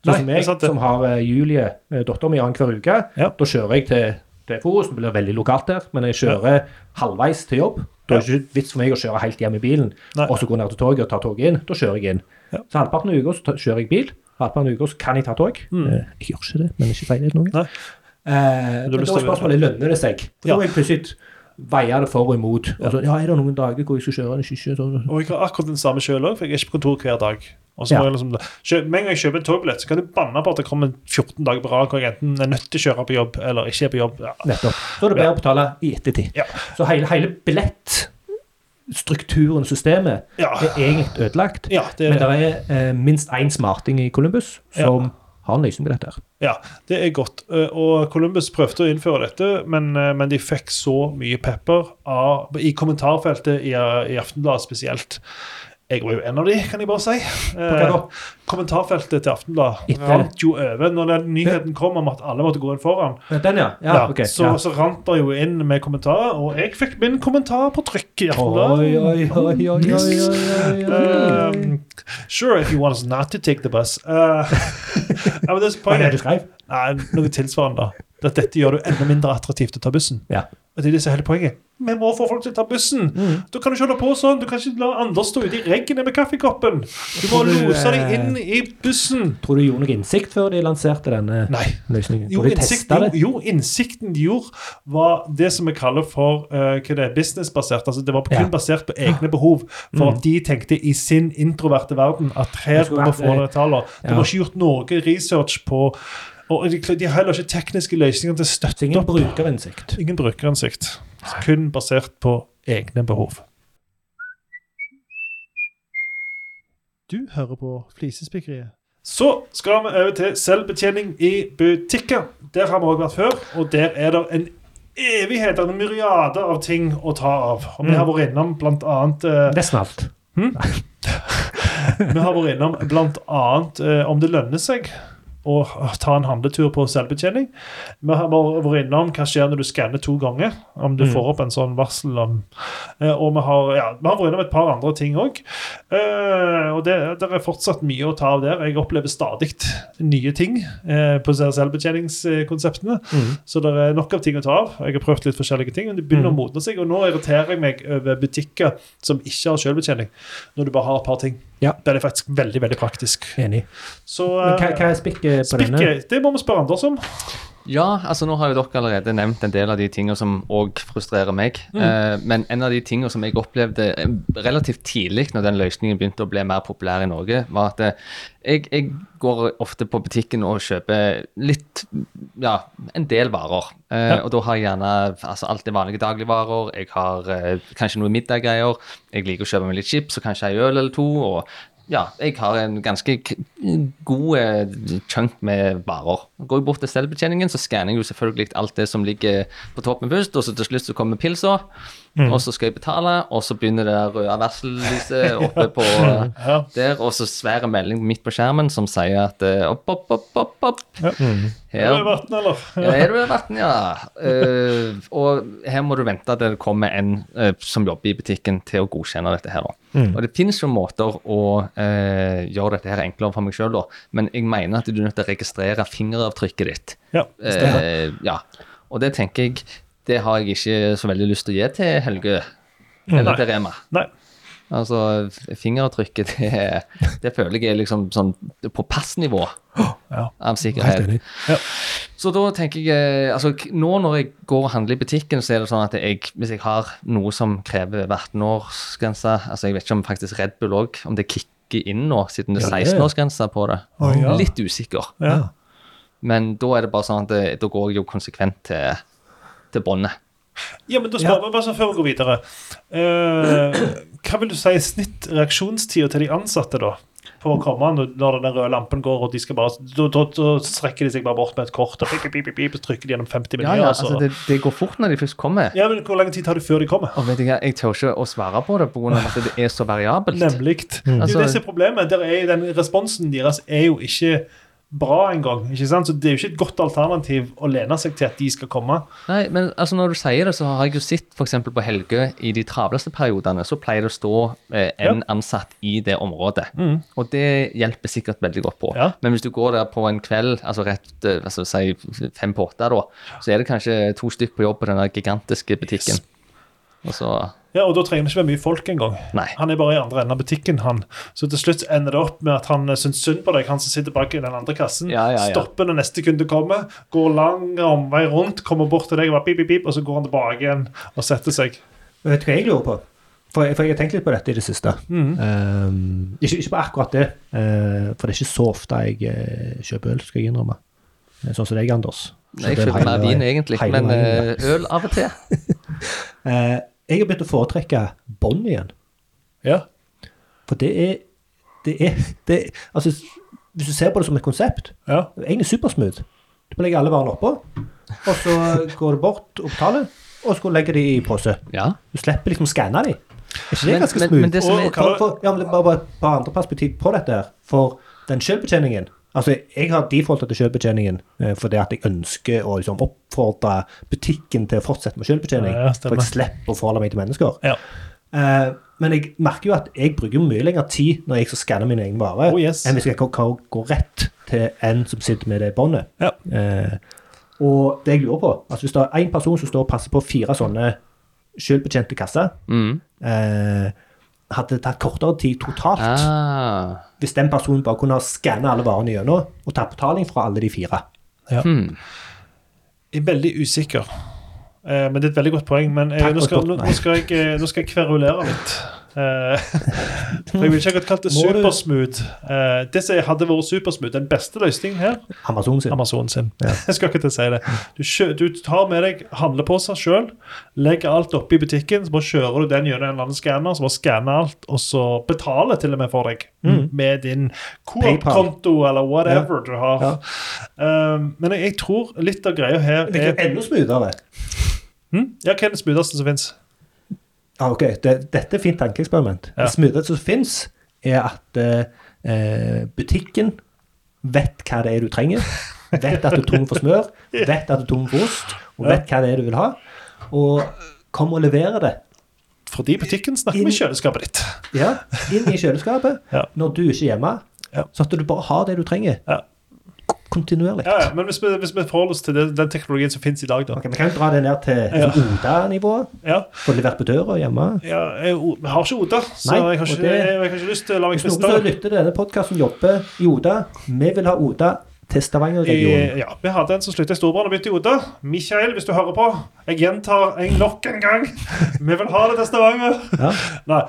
[SPEAKER 2] Sånn som
[SPEAKER 1] det er
[SPEAKER 2] jeg,
[SPEAKER 1] sant det.
[SPEAKER 2] som har eh, Julie, eh, dattera mi, annenhver uke.
[SPEAKER 1] Ja.
[SPEAKER 2] Da kjører jeg til, til Forus. Det blir veldig lokalt der, men jeg kjører halvveis til jobb. Da er det ikke vits for meg å kjøre helt hjem i bilen
[SPEAKER 1] Nei.
[SPEAKER 2] og så gå ned til toget og ta toget inn. Da kjører jeg inn.
[SPEAKER 1] Ja.
[SPEAKER 2] Så halvparten av uka så ta- kjører jeg bil, halvparten av uka så kan jeg ta tog. Eh, Jeg gjør ikke det, men ikke feil noe.
[SPEAKER 1] Nei.
[SPEAKER 2] Eh,
[SPEAKER 1] har
[SPEAKER 2] men
[SPEAKER 1] lyst
[SPEAKER 2] da er
[SPEAKER 1] til å-
[SPEAKER 2] spørsmålet lønner det seg. For
[SPEAKER 1] Ja.
[SPEAKER 2] Da må jeg plutselig veie det for og imot. Og så, ja, er det noen dager hvor jeg skal kjøre en kysje? sånn-
[SPEAKER 1] Og jeg har akkurat den samme sjøl òg, for jeg er ikke på kontor hver dag. Og så
[SPEAKER 2] Ja.
[SPEAKER 1] må jeg liksom, kjø- Med en gang jeg kjøper en togbillett, så kan du banne på at det kommer 14 dager på rad hvor jeg enten er nødt til å kjøre på jobb eller ikke er på jobb. Ja.
[SPEAKER 2] Nettopp. Så er det bedre å betale i ettertid.
[SPEAKER 1] Ja.
[SPEAKER 2] Så hele, hele billettstrukturen, systemet,
[SPEAKER 1] Ja.
[SPEAKER 2] er egentlig ødelagt.
[SPEAKER 1] Ja, det er
[SPEAKER 2] men det er eh, minst én smarting i Columbus som har en løsning på dette. her.
[SPEAKER 1] Ja, det er godt. Eh, Og Columbus prøvde å innføre dette, men, eh, men de fikk så mye pepper av, i kommentarfeltet i, eh, i Aftenbladet spesielt. Jeg var jo en av de, kan jeg bare si. Eh,
[SPEAKER 2] da?
[SPEAKER 1] kommentarfeltet til Aftenbladet
[SPEAKER 2] Etter-
[SPEAKER 1] rant jo over når den nyheten kom om at alle måtte gå inn foran.
[SPEAKER 2] Den, ja. ja,
[SPEAKER 1] Ja,
[SPEAKER 2] ok.
[SPEAKER 1] så,
[SPEAKER 2] ja.
[SPEAKER 1] så rant det jo inn med kommentarer, og jeg fikk min kommentar på trykk i Aftenbladet.
[SPEAKER 2] Oi, oi, oi, oi, oi, oi, oi, oi.
[SPEAKER 1] Um, sure, if you want us not to take the bus. Uh, ja, men det er
[SPEAKER 2] Hva er
[SPEAKER 1] poenget.
[SPEAKER 2] det du skrev?
[SPEAKER 1] Nei, noe tilsvarende. da. At dette gjør det enda mindre attraktivt å ta bussen.
[SPEAKER 2] Ja.
[SPEAKER 1] Og det er det som er hele poenget. Vi må få folk til å ta bussen.
[SPEAKER 2] Mm.
[SPEAKER 1] Da kan du ikke holde på sånn. Du kan ikke la andre stå ute i regnet med kaffekoppen. Du må
[SPEAKER 2] Tror du,
[SPEAKER 1] lose deg
[SPEAKER 2] eh,
[SPEAKER 1] inn i bussen.
[SPEAKER 2] Tror du de gjorde noe innsikt før de lanserte denne
[SPEAKER 1] Nei.
[SPEAKER 2] løsningen?
[SPEAKER 1] Jo,
[SPEAKER 2] Tror de testa
[SPEAKER 1] innsikten,
[SPEAKER 2] det?
[SPEAKER 1] jo, innsikten de gjorde, var det som vi kaller for eh, hva det er, businessbasert. Altså, det var kun
[SPEAKER 2] Ja. Mm.
[SPEAKER 1] basert på egne behov. For at de tenkte i sin introverte verden at her
[SPEAKER 2] Det skulle
[SPEAKER 1] må vi
[SPEAKER 2] vært,
[SPEAKER 1] få
[SPEAKER 2] eh,
[SPEAKER 1] noen taller. Det
[SPEAKER 2] ja.
[SPEAKER 1] var ikke gjort noe research på Og de, de har heller ikke tekniske løsninger til å
[SPEAKER 2] Så
[SPEAKER 1] støtte
[SPEAKER 2] ingen
[SPEAKER 1] opp.
[SPEAKER 2] brukerinnsikt.
[SPEAKER 1] Ingen brukerinsikt. Kun basert på egne behov. Du hører på Flisespikkeriet. Så skal vi over til selvbetjening i butikker. Der har vi også vært før, og der er det en evighet, en myriade av ting å ta av. Og vi har vært innom blant annet eh,
[SPEAKER 2] Nesten alt.
[SPEAKER 1] vi har vært innom bl.a. Eh, om det lønner seg å ta en handletur på selvbetjening. Vi har vært vært innom hva skjer når du skanner to ganger, om du
[SPEAKER 2] Mm.
[SPEAKER 1] får opp en sånn varsel om eh, Og vi har, ja, vi har vært innom et par andre ting òg. Eh, og det, der er fortsatt mye å ta av der. Jeg opplever stadig nye ting eh, på se- selvbetjeningskonseptene.
[SPEAKER 2] Mm.
[SPEAKER 1] Så det er nok av ting å ta av. Jeg har prøvd litt forskjellige ting, men det begynner å
[SPEAKER 2] Mm.
[SPEAKER 1] modne seg. Og nå irriterer jeg meg over butikker som ikke har selvbetjening, når du bare har et par ting.
[SPEAKER 2] Ja.
[SPEAKER 1] Da er det faktisk veldig veldig praktisk.
[SPEAKER 2] Enig.
[SPEAKER 1] Så
[SPEAKER 2] Men hva, hva
[SPEAKER 1] eh,
[SPEAKER 2] er spikket på denne?
[SPEAKER 1] spikket, det må vi spørre Anders om.
[SPEAKER 3] Ja, altså nå har jo dere allerede nevnt en del av de tingene som òg frustrerer meg. Eh, men en av de tingene som jeg opplevde eh, relativt tidlig når den løsningen begynte å bli mer populær i Norge, var at eh, jeg, jeg går ofte på butikken og kjøper litt Ja, en del varer. Eh, Og da har jeg gjerne altså, alt det vanlige dagligvarer. Jeg har eh, kanskje noe middaggreier. Jeg liker å kjøpe meg litt chips og kanskje ei øl eller to. og ja, jeg har en ganske k god eh, chunk med varer. Går jeg bort til selvbetjeningen, så skanner jeg jo selvfølgelig alt det som ligger på toppen først, og så til slutt så kommer pilsa,
[SPEAKER 1] Mm.
[SPEAKER 3] og så skal jeg betale, og så begynner det røde varsellyset oppe på eh,
[SPEAKER 1] Ja.
[SPEAKER 3] der, og så svær melding midt på skjermen som sier at eh, opp, opp, opp, opp, opp.
[SPEAKER 1] Er det
[SPEAKER 3] Her
[SPEAKER 1] vann, eller?
[SPEAKER 3] ja, er du i verden, ja. Eh, og her må du vente til det kommer en eh, som jobber i butikken til å godkjenne dette her. da.
[SPEAKER 1] Mm.
[SPEAKER 3] Og det finnes jo måter å eh, gjøre dette her enklere for meg sjøl, da. Men jeg mener at du er nødt til å registrere fingeravtrykket ditt.
[SPEAKER 1] Ja. stemmer.
[SPEAKER 3] Eh, ja. Og det tenker jeg Det har jeg ikke så veldig lyst til å gi til Helge eller til Rema.
[SPEAKER 1] Nei.
[SPEAKER 3] Altså, fingeravtrykket, det, det føler jeg er liksom sånn på passnivå
[SPEAKER 1] Ja.
[SPEAKER 3] av sikkerhet.
[SPEAKER 2] enig.
[SPEAKER 1] Ja.
[SPEAKER 3] Så da tenker jeg eh, altså, k- Nå når jeg går og handler i butikken, så er det sånn at jeg, hvis jeg har noe som krever 18-årsgrense altså Jeg vet ikke om faktisk Red Bull òg, om det kicker inn nå, siden det er
[SPEAKER 2] Ja, det er-
[SPEAKER 3] 16-årsgrense på det.
[SPEAKER 1] Å, ja.
[SPEAKER 3] Litt usikker.
[SPEAKER 1] Ja.
[SPEAKER 3] Men da er det bare sånn at eh, da går jeg jo konsekvent til, til båndet.
[SPEAKER 1] ja, men da spør vi bare så før vi går videre. Eh, hva vil du si er snitt reaksjonstida til de ansatte, da? På å komme når når den røde lampen går, og de skal bare, da, da, da strekker de seg bare bort med et kort og pip, pip, pip, pip, og trykker de gjennom 50
[SPEAKER 3] Ja,
[SPEAKER 1] menyer.
[SPEAKER 3] ja,
[SPEAKER 1] og så-
[SPEAKER 3] altså, det, det går fort når de først kommer.
[SPEAKER 1] Ja, men Hvor lang tid tar det før de kommer?
[SPEAKER 3] Og vet du hva, jeg tør ikke å svare på det pga. at det er så variabelt.
[SPEAKER 1] Nemlig. Det er jo
[SPEAKER 3] Altså-
[SPEAKER 1] det som er problemet. Der er jo den responsen deres er jo ikke bra engang. ikke sant? Så det er jo ikke et godt alternativ å lene seg til at de skal komme.
[SPEAKER 3] Nei, men altså når du sier det, så har jeg jo sett f.eks. på Helgø i de travleste periodene, så pleier det å stå eh, en ansatt i det området. Og det hjelper sikkert veldig godt på.
[SPEAKER 1] Ja.
[SPEAKER 3] Men hvis du går der på en kveld, altså rett eh, altså, si fem på åtte, da, så er det kanskje to stykk på jobb på den der gigantiske butikken. Og så
[SPEAKER 1] Ja, Og da trenger det ikke være mye folk engang.
[SPEAKER 3] Nei.
[SPEAKER 1] Han er bare i andre enden av butikken, han. Så til slutt ender det opp med at han eh, syns synd på deg, han som sitter bak i den andre kassen.
[SPEAKER 3] Ja, ja, ja.
[SPEAKER 1] Stopper når neste kunde kommer, går lang omvei rundt, kommer bort til deg og bare pip, pip, pip, og så går han tilbake igjen og setter seg.
[SPEAKER 2] Men Vet du hva jeg lurer på? For, for jeg har tenkt litt på dette i det siste. Um, ikke, ikke på akkurat det, eh, for det er ikke så ofte jeg eh, kjøper øl, skal jeg innrømme. Eh, Sånn som deg, Anders.
[SPEAKER 3] Jeg kjøper mer vin egentlig,
[SPEAKER 2] Hele
[SPEAKER 3] men
[SPEAKER 2] veien,
[SPEAKER 3] eh, øl av og til.
[SPEAKER 2] Eh, jeg har begynt å foretrekke bånd igjen.
[SPEAKER 1] Ja.
[SPEAKER 2] For det er, det er det, Altså, hvis du ser på det som et konsept,
[SPEAKER 1] Ja.
[SPEAKER 2] det er egentlig supersmooth. Du må legge alle varene oppå, og så går du bort og betaler, og så legger du de i pose.
[SPEAKER 3] Ja.
[SPEAKER 2] Du slipper liksom å skanne de. Er ikke det
[SPEAKER 3] Men-
[SPEAKER 2] ganske
[SPEAKER 3] men-
[SPEAKER 2] smooth?
[SPEAKER 3] men det som er-
[SPEAKER 2] Og- for, for, ja, men bare, bare et par andre perspektiv på dette her. For den selvbetjeningen Altså, jeg har defaultet til selvbetjeningen eh, fordi at jeg ønsker å liksom, oppfordre butikken til å fortsette med selvbetjening.
[SPEAKER 1] Ja, stemmer.
[SPEAKER 2] for jeg slipper å forholde meg til mennesker.
[SPEAKER 1] Ja.
[SPEAKER 2] Eh, men jeg merker jo at jeg bruker jo mye lenger tid når jeg skal skanne mine egne varer,
[SPEAKER 1] Oh, yes.
[SPEAKER 2] enn hvis jeg kan kan gå rett til en som sitter med det båndet.
[SPEAKER 1] Ja.
[SPEAKER 2] Eh, og det jeg lurer på, altså hvis det er én person som står og passer på fire sånne selvbetjente kasser,
[SPEAKER 3] Mm.
[SPEAKER 2] eh, hadde det tatt kortere tid totalt
[SPEAKER 3] Ah.
[SPEAKER 2] hvis den personen bare kunne ha skanna alle varene gjennom og tatt betaling fra alle de fire.
[SPEAKER 3] Hmm.
[SPEAKER 1] Jeg er veldig usikker. Eh, men det er et veldig godt poeng. Men eh,
[SPEAKER 2] Takk
[SPEAKER 1] nå,
[SPEAKER 2] for
[SPEAKER 1] skal,
[SPEAKER 2] et
[SPEAKER 1] nå,
[SPEAKER 2] godt-
[SPEAKER 1] nå, skal jeg, eh, nå skal jeg kverulere litt. Eh, for jeg ville ikke akkurat kalt det
[SPEAKER 2] Må du-
[SPEAKER 1] supersmooth. Eh, det som hadde vært supersmooth, den beste løsningen her,
[SPEAKER 2] Amazon sin.
[SPEAKER 1] Amazon sin. Jeg skal ikke til å si det. Du, kjø, du tar med deg handleposer sjøl, legger alt oppi butikken, så bare kjører du den gjennom en eller annen skanner, så bare skanner alt, og så betaler til og med for deg med din Coop-konto eller whatever du har.
[SPEAKER 2] Mm. Ja.
[SPEAKER 1] Um, men jeg, jeg tror litt av greia her
[SPEAKER 2] Det er
[SPEAKER 1] er
[SPEAKER 2] enda smoothere.
[SPEAKER 1] hm? Ja, hva er den smootheste som fins?
[SPEAKER 2] Ja, Ah, ok, det, Dette er fint tankeeksperiment.
[SPEAKER 1] Ja.
[SPEAKER 2] Det smootheste som fins, er at eh, eh, butikken vet hva det er du trenger. Vet at du er tom for smør, vet at du er tom for ost, og vet hva det er du vil ha. Og kom og leverer det
[SPEAKER 1] Fordi butikken snakker med kjøleskapet ditt.
[SPEAKER 2] ja, inn i kjøleskapet
[SPEAKER 1] Ja.
[SPEAKER 2] når du ikke er hjemme.
[SPEAKER 1] Ja.
[SPEAKER 2] Sånn at du bare har det du trenger.
[SPEAKER 1] Ja.
[SPEAKER 2] K- Kontinuerlig.
[SPEAKER 1] Ja, ja, men hvis vi, hvis vi forholder oss til den, den teknologien som fins i dag, da
[SPEAKER 2] Ok, Vi kan jo dra det ned til liksom, Oda-nivået.
[SPEAKER 1] ja,
[SPEAKER 2] Få levert på døra hjemme.
[SPEAKER 1] ja, jeg, jeg har ikke ODA, så
[SPEAKER 2] Nei,
[SPEAKER 1] jeg, har
[SPEAKER 2] og
[SPEAKER 1] ikke,
[SPEAKER 2] det-
[SPEAKER 1] jeg, har ikke lyst til å la meg
[SPEAKER 2] Hvis noen som
[SPEAKER 1] friste.
[SPEAKER 2] lytter til denne podkasten, jobber i Oda, vi vil ha Oda til Stavanger-regionen.
[SPEAKER 1] I, ja, vi hadde en som slutta i Storbrann og begynte i Oda. Mikael, hvis du hører på, jeg gjentar en nok en gang. Vi vil ha det til Stavanger.
[SPEAKER 2] Ja.
[SPEAKER 1] Nei,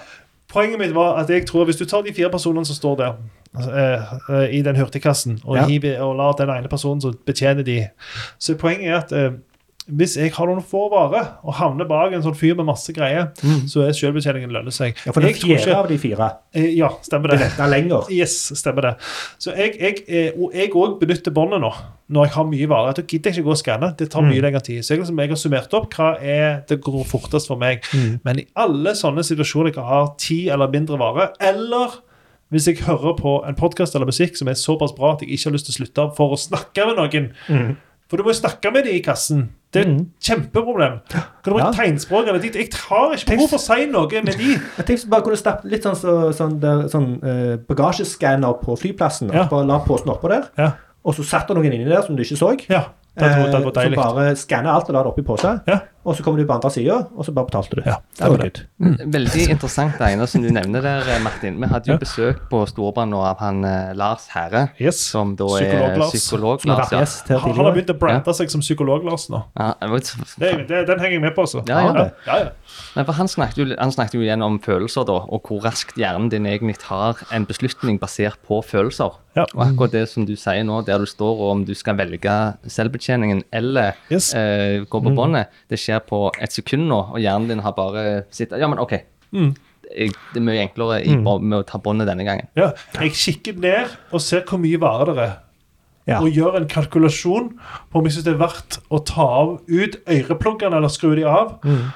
[SPEAKER 1] poenget mitt var at jeg tror hvis du tar de fire personene som står der eh, eh, i den hurtigkassen, og,
[SPEAKER 2] Ja.
[SPEAKER 1] hiver, og lar den ene personen som betjener de, så poenget er at eh, hvis jeg har noen få varer og havner bak en sånn fyr med masse greier, så er selvbetjeningen lønner seg.
[SPEAKER 2] Mm. Ja, for den
[SPEAKER 1] Jeg tror
[SPEAKER 2] fjerde
[SPEAKER 1] ikke-
[SPEAKER 2] av de fire
[SPEAKER 1] eh, ja, stemmer det.
[SPEAKER 2] venter lenger.
[SPEAKER 1] Yes, stemmer det. Så jeg, jeg, eh, og jeg òg benytter båndet nå, når jeg har mye varer. Da gidder jeg ikke gå og skanne. Det tar
[SPEAKER 2] Mm.
[SPEAKER 1] mye lengre tid. Så jeg, liksom, jeg har summert opp hva er det går fortest for meg.
[SPEAKER 2] Mm.
[SPEAKER 1] Men i alle sånne situasjoner jeg har ti eller mindre varer, eller hvis jeg hører på en podkast eller musikk som er såpass bra at jeg ikke har lyst til å slutte for å snakke med noen
[SPEAKER 2] Mm.
[SPEAKER 1] For du må jo snakke med dem i kassen. Det er et kjempeproblem. Kan du bruke
[SPEAKER 2] Ja.
[SPEAKER 1] tegnspråk eller ditt? Jeg har ikke behov for å si noe med de.
[SPEAKER 2] Jeg tenkte bare kunne stappe litt sånn, så, sånn, der- sånn eh, bagasjeskanner på flyplassen.
[SPEAKER 1] Ja.
[SPEAKER 2] og Bare la posen oppå der,
[SPEAKER 1] Ja.
[SPEAKER 2] og så satt det noen inni der som du ikke så.
[SPEAKER 1] ja det hadde vært- det hadde vært
[SPEAKER 2] Eh,
[SPEAKER 1] deilig.
[SPEAKER 2] så bare skanner alt og la det oppi posen,
[SPEAKER 1] Ja.
[SPEAKER 2] og så kommer du på andre sida, og så bare betalte du.
[SPEAKER 1] Ja,
[SPEAKER 2] det var good.
[SPEAKER 3] Veldig interessant det ene som du nevner der, eh, Martin. Vi hadde jo besøk på Storbrann nå av han eh, Lars Herre,
[SPEAKER 1] Yes.
[SPEAKER 3] som da
[SPEAKER 1] Psykolog
[SPEAKER 3] er
[SPEAKER 1] Lars.
[SPEAKER 3] psykolog.
[SPEAKER 2] Som har
[SPEAKER 3] Lars,
[SPEAKER 2] vært
[SPEAKER 3] ja.
[SPEAKER 2] gjest her
[SPEAKER 1] Han han har
[SPEAKER 2] tidligere.
[SPEAKER 1] begynt å brande seg som psykolog, Lars, nå.
[SPEAKER 3] Ja, jeg vet-
[SPEAKER 1] Det, det, den henger jeg med på, altså.
[SPEAKER 3] Ja, ja.
[SPEAKER 1] ja. ja, ja.
[SPEAKER 3] Nei, for han snakket, jo, han snakket jo igjen om følelser, da, og hvor raskt hjernen din egentlig tar en beslutning basert på følelser.
[SPEAKER 1] Ja.
[SPEAKER 3] Og akkurat det som du sier nå, der du står og om du skal velge selvbetjeningen eller
[SPEAKER 1] Yes.
[SPEAKER 3] eh, gå på båndet, det skjer på et sekund nå, og hjernen din har bare sittet Ja, men OK. Jeg- Det er mye enklere i, bå- med å ta båndet denne gangen.
[SPEAKER 1] Ja, jeg kikker ned og ser hvor mye varer det er.
[SPEAKER 2] Ja.
[SPEAKER 1] Og gjør en kalkulasjon på om jeg syns det er verdt å ta av ut ørepluggene eller skru de av.
[SPEAKER 2] Mm.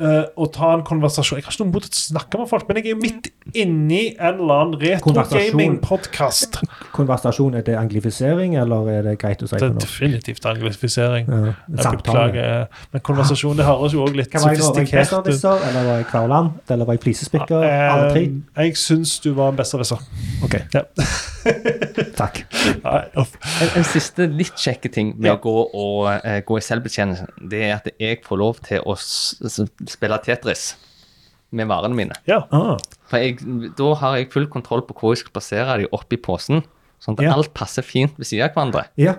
[SPEAKER 1] eh, og ta en konversasjon. Jeg har ikke noe imot å snakke med folk, men jeg er jo midt inni en eller annen
[SPEAKER 2] Konversasjon.
[SPEAKER 1] retrogaming-podkast.
[SPEAKER 2] Konversasjon, er det anglifisering, eller er det greit å si på nå?
[SPEAKER 1] Definitivt anglifisering.
[SPEAKER 2] Ja,
[SPEAKER 1] Jeg
[SPEAKER 2] samtale.
[SPEAKER 1] beklager. eh, Men konversasjon, det høres jo òg litt
[SPEAKER 2] Hva var jeg nå? Var jeg
[SPEAKER 1] sofistikert ut.
[SPEAKER 2] besserwisser, eller var jeg kvaland, eller var jeg flisespikker? Alle tre?
[SPEAKER 1] Eh, Jeg syns du var en besserwisser.
[SPEAKER 2] Ok,
[SPEAKER 1] Ja.
[SPEAKER 2] takk.
[SPEAKER 1] Nei, uff.
[SPEAKER 3] En, en siste litt kjekke ting med
[SPEAKER 1] Ja.
[SPEAKER 3] å gå, og, eh, gå i selvbetjenelse, det er at jeg får lov til å s s spille Tetris med varene mine.
[SPEAKER 1] Ja.
[SPEAKER 2] Ah,
[SPEAKER 3] For jeg, da har jeg full kontroll på hvor jeg skal plassere dem oppi posen. Sånn at
[SPEAKER 2] Ja.
[SPEAKER 3] alt passer fint ved siden av hverandre.
[SPEAKER 2] ja.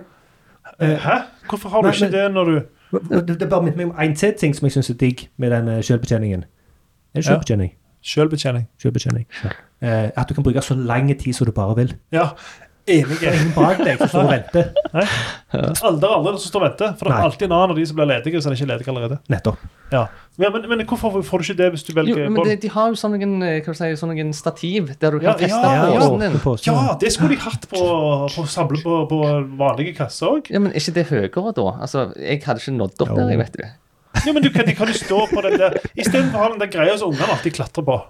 [SPEAKER 1] eh, Hæ? Hvorfor har du
[SPEAKER 2] Nei,
[SPEAKER 1] ikke
[SPEAKER 2] men-
[SPEAKER 1] det når du
[SPEAKER 2] Det, det bare minner meg om en til ting som jeg syns er digg med den eh, selvbetjeningen. Er det selvbetjening?
[SPEAKER 1] Selvbetjening.
[SPEAKER 2] Selvbetjening. Eh, at du kan bruke så lang tid som du bare vil.
[SPEAKER 1] Ja. Enig.
[SPEAKER 2] Det er ingen bak deg som står og venter.
[SPEAKER 1] Alle det er andre som står og venter. For det
[SPEAKER 2] Nei.
[SPEAKER 1] er alltid en annen av de som blir ledige, hvis han ikke er ledig allerede.
[SPEAKER 2] Nettopp.
[SPEAKER 1] Ja. Ja, men, men hvorfor får du ikke det hvis du
[SPEAKER 3] Jo,
[SPEAKER 1] velger
[SPEAKER 3] men
[SPEAKER 1] bånd?
[SPEAKER 3] de, de har jo sånn noen, eh, hva skal jeg si, sånn noen stativ der du
[SPEAKER 1] Ja,
[SPEAKER 3] kan feste
[SPEAKER 1] ja,
[SPEAKER 2] Ja,
[SPEAKER 1] ja.
[SPEAKER 3] posen
[SPEAKER 2] åpne
[SPEAKER 3] din.
[SPEAKER 2] posen.
[SPEAKER 1] Ja, det skulle de hatt på, på samle på, på vanlige kasser òg.
[SPEAKER 3] Ja, men er ikke det høyere da? Altså, jeg hadde ikke nådd opp
[SPEAKER 2] Jo.
[SPEAKER 3] der, jeg vet du.
[SPEAKER 1] Ja, men du kan, de kan jo stå på den der Istedenfor å ha den der greia som ungene alltid klatrer på.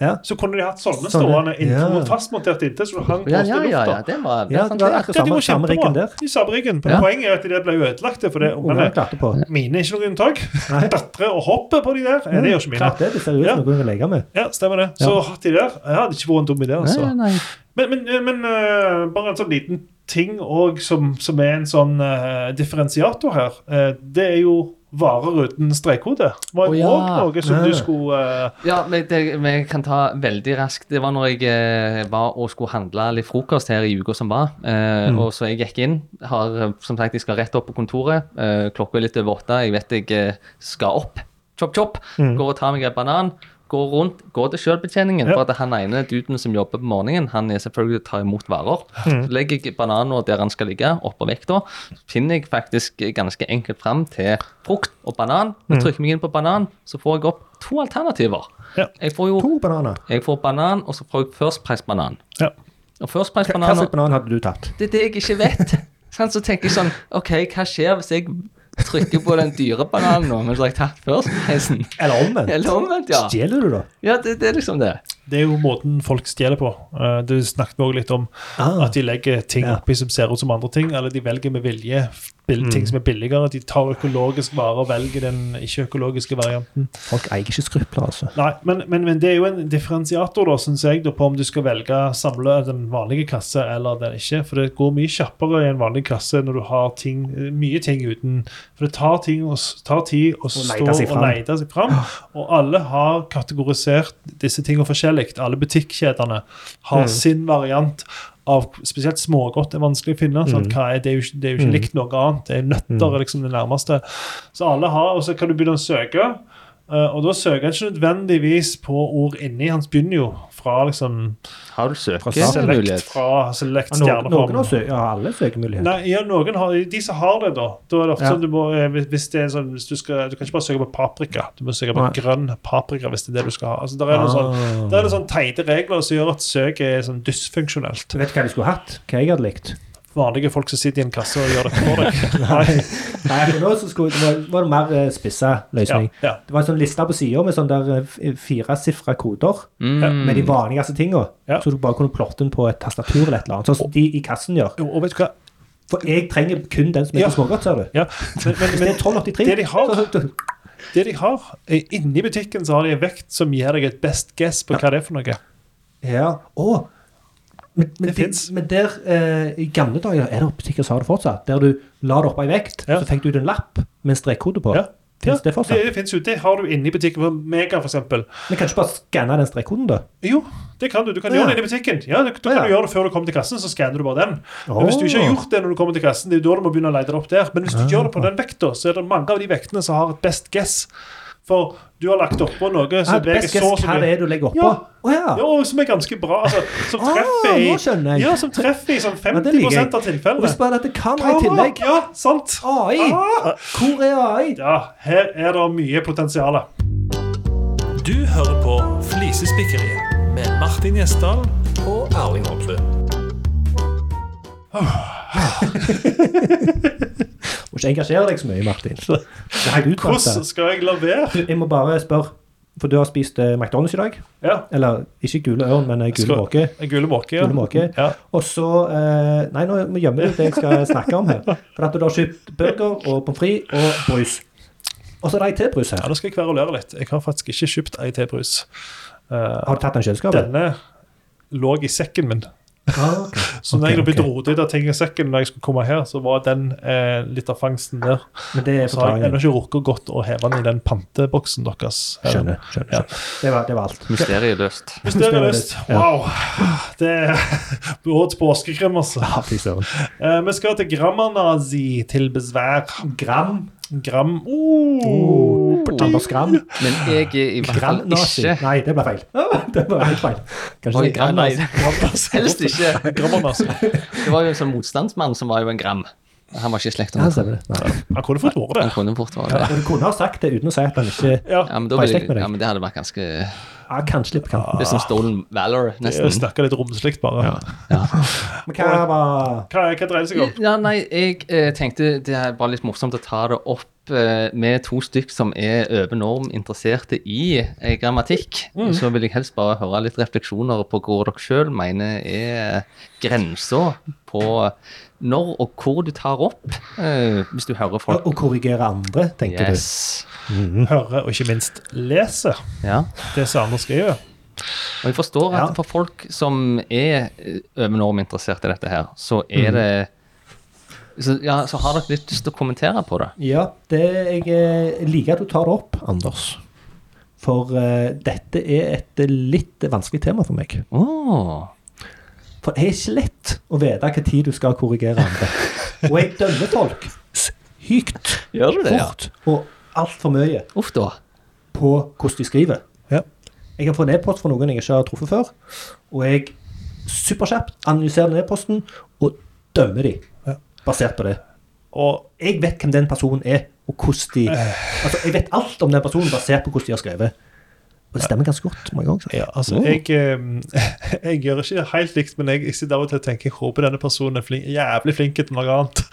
[SPEAKER 2] Ja.
[SPEAKER 1] Så kunne de hatt sånne,
[SPEAKER 2] Sånne,
[SPEAKER 1] stående inntil,
[SPEAKER 2] ja.
[SPEAKER 1] fastmontert inntil, så du hang
[SPEAKER 3] Ja,
[SPEAKER 1] fast i
[SPEAKER 3] ja, ja, ja,
[SPEAKER 1] lufta.
[SPEAKER 3] det var, det
[SPEAKER 2] Ja,
[SPEAKER 3] fant
[SPEAKER 2] det var
[SPEAKER 3] jeg.
[SPEAKER 1] Ja,
[SPEAKER 2] akkurat
[SPEAKER 1] de
[SPEAKER 2] samme,
[SPEAKER 1] var
[SPEAKER 2] samme
[SPEAKER 1] kjempebra.
[SPEAKER 2] riggen der.
[SPEAKER 1] I samme riggen. Men
[SPEAKER 3] Ja.
[SPEAKER 1] poenget er at de der ble jo ødelagt, for det
[SPEAKER 2] Ungene
[SPEAKER 1] ungene
[SPEAKER 2] klarte på.
[SPEAKER 1] Mine er ikke noe unntak.
[SPEAKER 2] Nei.
[SPEAKER 1] Klatrer og hopper på de der. Eh, Det gjør ikke mine.
[SPEAKER 2] Klart det, det ser ut
[SPEAKER 1] Ja.
[SPEAKER 2] som noe hun vil leke med.
[SPEAKER 1] Ja, stemmer det. Så hatt de der. Jeg hadde ikke vært en dum idé, altså.
[SPEAKER 3] Nei, nei.
[SPEAKER 1] Men, men, men eh, bare en sånn liten ting òg som, som er en sånn eh, differensiator her. eh, det er jo varer uten strekkode. Var
[SPEAKER 3] Å,
[SPEAKER 1] det
[SPEAKER 3] ja.
[SPEAKER 1] òg noe som
[SPEAKER 2] Ja.
[SPEAKER 1] du skulle eh,
[SPEAKER 3] Ja, men det, vi kan ta veldig raskt. Det var når jeg eh, var og skulle handle litt frokost her i uka som var. Eh, Og så jeg gikk inn. Har, eh, som sagt, jeg skal rett opp på kontoret. Eh, klokka er litt over åtte. Jeg vet jeg eh, skal opp. Chop, chop. Går og tar meg en banan. Går rundt, går til selvbetjeningen.
[SPEAKER 1] Ja.
[SPEAKER 3] For at han ene duden som jobber på morgenen, han er selvfølgelig tar imot varer.
[SPEAKER 2] Mm.
[SPEAKER 3] Så legger jeg bananen der han skal ligge, oppå vekta. Så finner jeg faktisk ganske enkelt fram til frukt og banan.
[SPEAKER 2] Mm.
[SPEAKER 3] Når jeg trykker meg inn på banan, så får jeg opp to alternativer.
[SPEAKER 1] Ja.
[SPEAKER 3] Jeg får jo
[SPEAKER 2] To bananer.
[SPEAKER 3] jeg får banan, og så får jeg førstpreisbanan.
[SPEAKER 1] Ja.
[SPEAKER 2] Hva
[SPEAKER 3] Og
[SPEAKER 2] hva
[SPEAKER 3] førstpreisbananer
[SPEAKER 2] slags banan hadde du tatt?
[SPEAKER 3] Det er det jeg ikke vet. Sant, så tenker jeg sånn OK, hva skjer hvis jeg trykker på den dyre bananen nå, mens jeg har tatt førstpreisen?
[SPEAKER 2] Eller omvendt?
[SPEAKER 3] Eller omvendt, ja.
[SPEAKER 2] Stjeler du, da?
[SPEAKER 3] Ja, det, det er liksom det.
[SPEAKER 1] Det er jo måten folk stjeler på. Eh, det snakket vi òg litt om.
[SPEAKER 2] Ah.
[SPEAKER 1] At de legger ting
[SPEAKER 2] Ja.
[SPEAKER 1] oppi som ser ut som andre ting, eller de velger med vilje bill- ting som er billigere. De tar økologisk vare og velger den ikke-økologiske varianten.
[SPEAKER 2] Folk eier ikke skrupler, altså.
[SPEAKER 1] Nei, men, men, men det er jo en differensiator, da, synes jeg, da, på om du skal velge samle den vanlige kasse eller den ikke. For det går mye kjappere i en vanlig kasse når du har ting, mye ting uten For det tar, ting å s- tar tid å stå
[SPEAKER 2] leite seg
[SPEAKER 1] og
[SPEAKER 2] fram.
[SPEAKER 1] lete seg fram.
[SPEAKER 2] Ah.
[SPEAKER 1] Og alle har kategorisert disse tingene forskjellig. Alle butikkjedene
[SPEAKER 2] Mm.
[SPEAKER 1] har sin variant. Av, spesielt smågodt er vanskelig å finne. Sant?
[SPEAKER 2] Mm.
[SPEAKER 1] Hva er, det, er jo, ikke- det er jo ikke likt noe annet. Det er nøtter er liksom det nærmeste. Så alle har, og så kan du begynne å søke. Eh, og da søker han ikke nødvendigvis på ord inni. Han begynner jo fra liksom
[SPEAKER 3] Har du
[SPEAKER 1] select,
[SPEAKER 3] søkemulighet?
[SPEAKER 1] fra select
[SPEAKER 2] Ja, Noen, noen har
[SPEAKER 1] stjerneform.
[SPEAKER 2] sø ja, alle søkemuligheter.
[SPEAKER 1] Nei, ja, noen har, de som har det, da. da er det ofte
[SPEAKER 2] Ja.
[SPEAKER 1] sånn du må, eh, hvis- hvis det er sånn, hvis du, skal, du kan ikke bare søke på paprika. Du må søke på
[SPEAKER 2] Nei.
[SPEAKER 1] grønn paprika hvis det er det du skal ha. Altså, der er det sånn,
[SPEAKER 2] Ah.
[SPEAKER 1] der er det sånn teite regler som gjør at søket er sånn
[SPEAKER 2] Du
[SPEAKER 1] dysfunksjonelt.
[SPEAKER 2] vet hva de skulle hatt? Hva jeg hadde likt?
[SPEAKER 1] Vanlige folk som sitter i en kasse og gjør dette for deg. Nei.
[SPEAKER 2] Nei, men nå så skulle, det var, var det mer eh, spissa
[SPEAKER 1] Ja,
[SPEAKER 2] løsning.
[SPEAKER 1] ja.
[SPEAKER 2] Det var en sånn liste på sida med sånn der eh, f- firesifra koder med de vanligste tinga.
[SPEAKER 1] Ja.
[SPEAKER 2] Så du bare kunne plotte den på et tastatur eller et eller annet. Sånn som de i kassen gjør.
[SPEAKER 1] Jo, Og vet du hva?
[SPEAKER 2] For jeg trenger kun den som
[SPEAKER 1] Ja.
[SPEAKER 2] heter smågodt, ser du.
[SPEAKER 1] Ja. Men, men,
[SPEAKER 2] Hvis det
[SPEAKER 1] men,
[SPEAKER 2] er 1283
[SPEAKER 1] det de har-
[SPEAKER 2] så- så- så-
[SPEAKER 1] det de har, er inni butikken så har de en vekt som gir deg et best guess på hva det er for noe.
[SPEAKER 2] Ja. Å! Men, men,
[SPEAKER 1] Det
[SPEAKER 2] de,
[SPEAKER 1] finnes.
[SPEAKER 2] men der eh, i gamle dager er det butikker som har det fortsatt. Der du la det opp ei vekt,
[SPEAKER 1] Ja.
[SPEAKER 2] så fikk du ut en lapp med en strekkode på.
[SPEAKER 1] Ja. Ja,
[SPEAKER 2] Finnes det fortsatt?
[SPEAKER 1] Det, det finnes jo. Det har du inne i butikken. På Mega, for eksempel.
[SPEAKER 2] Men kan du ikke bare skanne den strekkoden, da?
[SPEAKER 1] Jo, det kan du. Du kan
[SPEAKER 2] Å, ja.
[SPEAKER 1] gjøre det inne i butikken. Ja, du, da
[SPEAKER 2] Å,
[SPEAKER 1] kan
[SPEAKER 2] ja.
[SPEAKER 1] du gjøre det før du kommer til kassen, så skanner du bare den. Men hvis du ikke har
[SPEAKER 2] Åh. Ah.
[SPEAKER 1] gjort det når du kommer til kassen, det er jo da du må begynne å lete det opp der. Men hvis du gjør det på den vekta, så er det mange av de vektene som har et best guess. For du har lagt oppå noe
[SPEAKER 2] Ah,
[SPEAKER 1] som veier
[SPEAKER 2] best guess
[SPEAKER 1] så og så
[SPEAKER 2] hva det
[SPEAKER 1] mye.
[SPEAKER 2] er du legger oppå?
[SPEAKER 1] Ja.
[SPEAKER 2] Å ja.
[SPEAKER 1] Ja, og som er ganske bra. Altså, som
[SPEAKER 2] Ah,
[SPEAKER 1] treffer i
[SPEAKER 2] nå skjønner jeg.
[SPEAKER 1] Ja, som treffer i sånn
[SPEAKER 2] Ja, det liker
[SPEAKER 1] 50
[SPEAKER 2] jeg.
[SPEAKER 1] av
[SPEAKER 2] Og hvis
[SPEAKER 1] tilfellene. Ah,
[SPEAKER 2] bare dette kamera i tillegg
[SPEAKER 1] Ja, sant.
[SPEAKER 2] AI!
[SPEAKER 1] Ah.
[SPEAKER 2] Hvor er AI?
[SPEAKER 1] Ja, her er det mye potensial.
[SPEAKER 4] Du hører på Flisespikkeriet med Martin Gjesdal og Erling Hovde.
[SPEAKER 2] Må ikke engasjere deg så mye, Martin. Det er helt
[SPEAKER 1] Hvordan
[SPEAKER 2] utmattende.
[SPEAKER 1] skal jeg la være?
[SPEAKER 2] Jeg må bare spørre, for du har spist eh, McDonald's i dag.
[SPEAKER 1] Ja,
[SPEAKER 2] Eller ikke gule ørn, men eh, gule
[SPEAKER 1] Skal-
[SPEAKER 2] måke.
[SPEAKER 1] en gule måke. Ja.
[SPEAKER 2] Gule måke.
[SPEAKER 1] Ja.
[SPEAKER 2] Og så eh, Nei, nå må jeg gjemme ut det jeg skal snakke om her. For at du har kjøpt burger og pommes frites og brus. Og så er det ei til brus
[SPEAKER 1] ja,
[SPEAKER 2] her.
[SPEAKER 1] nå skal jeg kverulere litt. Jeg har faktisk ikke kjøpt ei til brus.
[SPEAKER 2] Har du tatt den i kjøleskapet?
[SPEAKER 1] Denne lå i sekken min.
[SPEAKER 2] Ah, ok.
[SPEAKER 1] Så når
[SPEAKER 2] Ok,
[SPEAKER 1] jeg begynte å
[SPEAKER 2] ok.
[SPEAKER 1] rote ut av ting i sekken, når jeg skulle komme her, så var den eh, litt av fangsten der.
[SPEAKER 2] Men det er
[SPEAKER 1] Så har jeg
[SPEAKER 2] forklaringen.
[SPEAKER 1] ennå ikke rukket godt å heve den i den panteboksen deres. her.
[SPEAKER 2] Skjønner. skjønner,
[SPEAKER 1] Ja.
[SPEAKER 2] skjønner. Det, var, det var alt.
[SPEAKER 3] Mysteriet er løst.
[SPEAKER 1] Hvis dere har lyst.
[SPEAKER 2] Ja.
[SPEAKER 1] Wow! Det er årets påskekrim, altså.
[SPEAKER 2] Ja, fy søren.
[SPEAKER 1] Eh, vi skal til Grammanazi til besvær.
[SPEAKER 2] Gram Uh.
[SPEAKER 1] Gram oh,
[SPEAKER 2] Anders Gram.
[SPEAKER 3] Men jeg er i hvert fall
[SPEAKER 2] Gram-nazi.
[SPEAKER 3] ikke
[SPEAKER 2] Nei, det ble feil. Det ble helt feil. Kanskje
[SPEAKER 3] Oi,
[SPEAKER 2] det er
[SPEAKER 3] nei,
[SPEAKER 2] Gram-nazi.
[SPEAKER 3] Helst ikke.
[SPEAKER 1] Grammernazist.
[SPEAKER 3] Det var jo en sånn motstandsmann som var jo en gram. Han var ikke i slekt
[SPEAKER 2] Ja,
[SPEAKER 3] med
[SPEAKER 2] stemmer det. Nei.
[SPEAKER 1] Han kunne fått vært
[SPEAKER 3] Han
[SPEAKER 1] det.
[SPEAKER 3] kunne fort være det.
[SPEAKER 2] Men Du kunne ha sagt det uten å si at han ikke
[SPEAKER 1] Ja,
[SPEAKER 3] Ja, men, da
[SPEAKER 2] Bare slekt med
[SPEAKER 3] ville,
[SPEAKER 2] deg.
[SPEAKER 3] ja, men det hadde vært ganske Det
[SPEAKER 2] ja, Kanskje litt på kanten.
[SPEAKER 3] er som Stolen Valor,
[SPEAKER 1] jeg
[SPEAKER 2] sånn.
[SPEAKER 3] nesten.
[SPEAKER 1] snakker litt romsligt bare.
[SPEAKER 3] Ja.
[SPEAKER 2] Men hva var
[SPEAKER 1] Hva, hva dreier det seg om?
[SPEAKER 3] Ja, nei, jeg eh, tenkte det er bare litt morsomt å ta det opp eh, med to stykk som er over norm interesserte i eh, grammatikk. Så vil jeg helst bare høre litt refleksjoner på hva dere sjøl mener er grensa på når og hvor du tar opp, eh, hvis du hører folk
[SPEAKER 2] Å korrigere andre, tenker
[SPEAKER 3] Yes.
[SPEAKER 2] Mm.
[SPEAKER 1] Hører og ikke minst leser
[SPEAKER 3] Ja.
[SPEAKER 1] det som andre skriver.
[SPEAKER 3] Og jeg forstår at
[SPEAKER 2] Ja.
[SPEAKER 3] for folk som er eh, over norm interessert i dette her, så er det så, ja, så har dere litt lyst til å kommentere på det.
[SPEAKER 2] du. Ja, det, jeg eh, liker at du tar det opp, Anders. For eh, dette er et litt vanskelig tema for meg.
[SPEAKER 3] Åh.
[SPEAKER 2] For det er ikke lett å vite hva tid du skal korrigere andre. Og jeg dømmer folk hykt,
[SPEAKER 3] Gjør du det, ja?
[SPEAKER 2] fort og altfor mye
[SPEAKER 3] Uff da.
[SPEAKER 2] på hvordan de skriver. Jeg kan få en e-post fra noen jeg ikke har truffet før, og jeg superkjapt analyserer den e-posten og dømmer de basert på det.
[SPEAKER 1] Og
[SPEAKER 2] jeg vet hvem den personen er, og hvordan de
[SPEAKER 1] Øh.
[SPEAKER 2] Altså, jeg vet alt om den personen basert på hvordan de har skrevet. Og det stemmer ganske godt. må jeg også si.
[SPEAKER 1] ja, altså,
[SPEAKER 2] Mm.
[SPEAKER 1] jeg, eh, jeg gjør ikke helt likt, men jeg, jeg sitter av og til og tenker jeg håper denne personen er flink, jævlig flink til noe annet.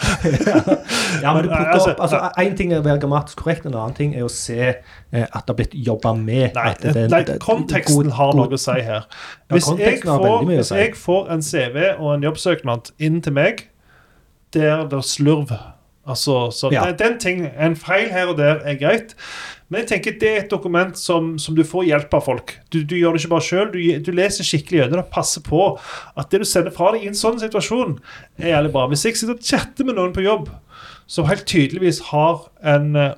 [SPEAKER 2] Mm. Ja, men du
[SPEAKER 1] Nei,
[SPEAKER 2] plukker
[SPEAKER 1] altså-
[SPEAKER 2] opp, altså, En ting er å være grammatisk korrekt, en annen ting er å se eh, at det har blitt jobba med.
[SPEAKER 1] Nei,
[SPEAKER 2] at det- det-
[SPEAKER 1] nei
[SPEAKER 2] det-
[SPEAKER 1] konteksten
[SPEAKER 2] god-
[SPEAKER 1] har
[SPEAKER 2] god-
[SPEAKER 1] noe å si her.
[SPEAKER 2] Ja,
[SPEAKER 1] Hvis, jeg,
[SPEAKER 2] konteksten har
[SPEAKER 1] får,
[SPEAKER 2] veldig mye å
[SPEAKER 1] hvis
[SPEAKER 2] si.
[SPEAKER 1] jeg får en CV og en jobbsøknad inn til meg der det er slurv Altså, så
[SPEAKER 2] Ja.
[SPEAKER 1] nei, den ting, En feil her og der er greit, men jeg tenker det er et dokument som, som du får hjelp av folk. Du, du gjør det ikke bare sjøl, du, du leser skikkelig gjennom det. Passer på at det du sender fra deg i en sånn situasjon, er jævlig bra. Hvis jeg sitter og chatter med noen på jobb som helt tydeligvis har en eh,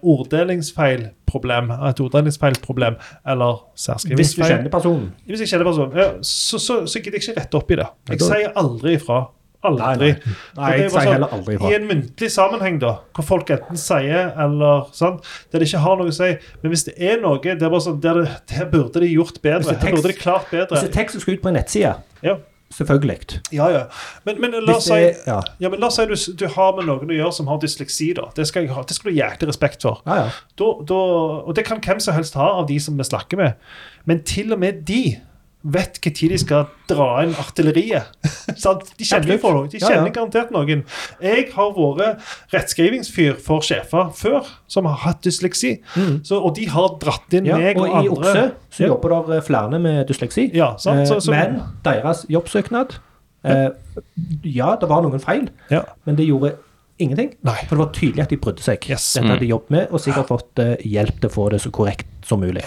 [SPEAKER 1] orddelingsfeilproblem, et orddelingsfeilproblem, eller
[SPEAKER 2] Hvis du
[SPEAKER 1] særskrivningsfeil
[SPEAKER 2] kjenner personen.
[SPEAKER 1] Hvis jeg kjenner personen, ja, så, så, så gidder jeg ikke rette opp i det. Jeg
[SPEAKER 2] da-
[SPEAKER 1] sier aldri ifra. Aldri.
[SPEAKER 2] Nei, nei. Nei,
[SPEAKER 1] For det er bare
[SPEAKER 2] jeg sier
[SPEAKER 1] sånn,
[SPEAKER 2] heller aldri ifra.
[SPEAKER 1] I en muntlig sammenheng, da, hvor folk enten sier eller sant, der det ikke har noe å si Men hvis det er noe, det er bare sånn, der, det, der burde de gjort bedre.
[SPEAKER 2] Hvis det er
[SPEAKER 1] Her burde de
[SPEAKER 2] tekst-
[SPEAKER 1] klart
[SPEAKER 2] Hvis
[SPEAKER 1] bedre.
[SPEAKER 2] det er tekst som Altså, skal ut på en nettside,
[SPEAKER 1] Ja,
[SPEAKER 2] selvfølgelig.
[SPEAKER 1] ja. ja. Men, men la
[SPEAKER 2] Hvis
[SPEAKER 1] oss
[SPEAKER 2] det
[SPEAKER 1] si
[SPEAKER 2] er, ja.
[SPEAKER 1] ja, men La oss si du, du har med noen å gjøre som har dysleksi. da. Det skal, jeg ha, det skal du ha jæklig respekt for.
[SPEAKER 2] Ja, ja.
[SPEAKER 1] Da, da, og det kan hvem som helst ha av de som vi snakker med. Men til og med de vet når de skal dra inn artilleriet. Sant? de kjenner jo
[SPEAKER 2] Absolutt.
[SPEAKER 1] for noe. De
[SPEAKER 2] Ja,
[SPEAKER 1] kjenner
[SPEAKER 2] ja.
[SPEAKER 1] garantert noen. Jeg har vært rettskrivingsfyr for sjefer før som har hatt dysleksi. Så, og de har dratt inn
[SPEAKER 2] Mm. Ja,
[SPEAKER 1] meg og,
[SPEAKER 2] og i
[SPEAKER 1] andre.
[SPEAKER 2] Okse så
[SPEAKER 1] Ja.
[SPEAKER 2] jobber der eh, flere med dysleksi.
[SPEAKER 1] Ja, sant, så- så-
[SPEAKER 2] Eh, Men deres jobbsøknad eh, Ja, det var noen feil,
[SPEAKER 1] Ja.
[SPEAKER 2] men det gjorde ingenting.
[SPEAKER 1] Nei.
[SPEAKER 2] For det var tydelig at de brydde seg.
[SPEAKER 1] Yes. Mm.
[SPEAKER 2] Dette hadde de jobbet med, og sikkert fått eh, hjelp til å få det så korrekt som mulig.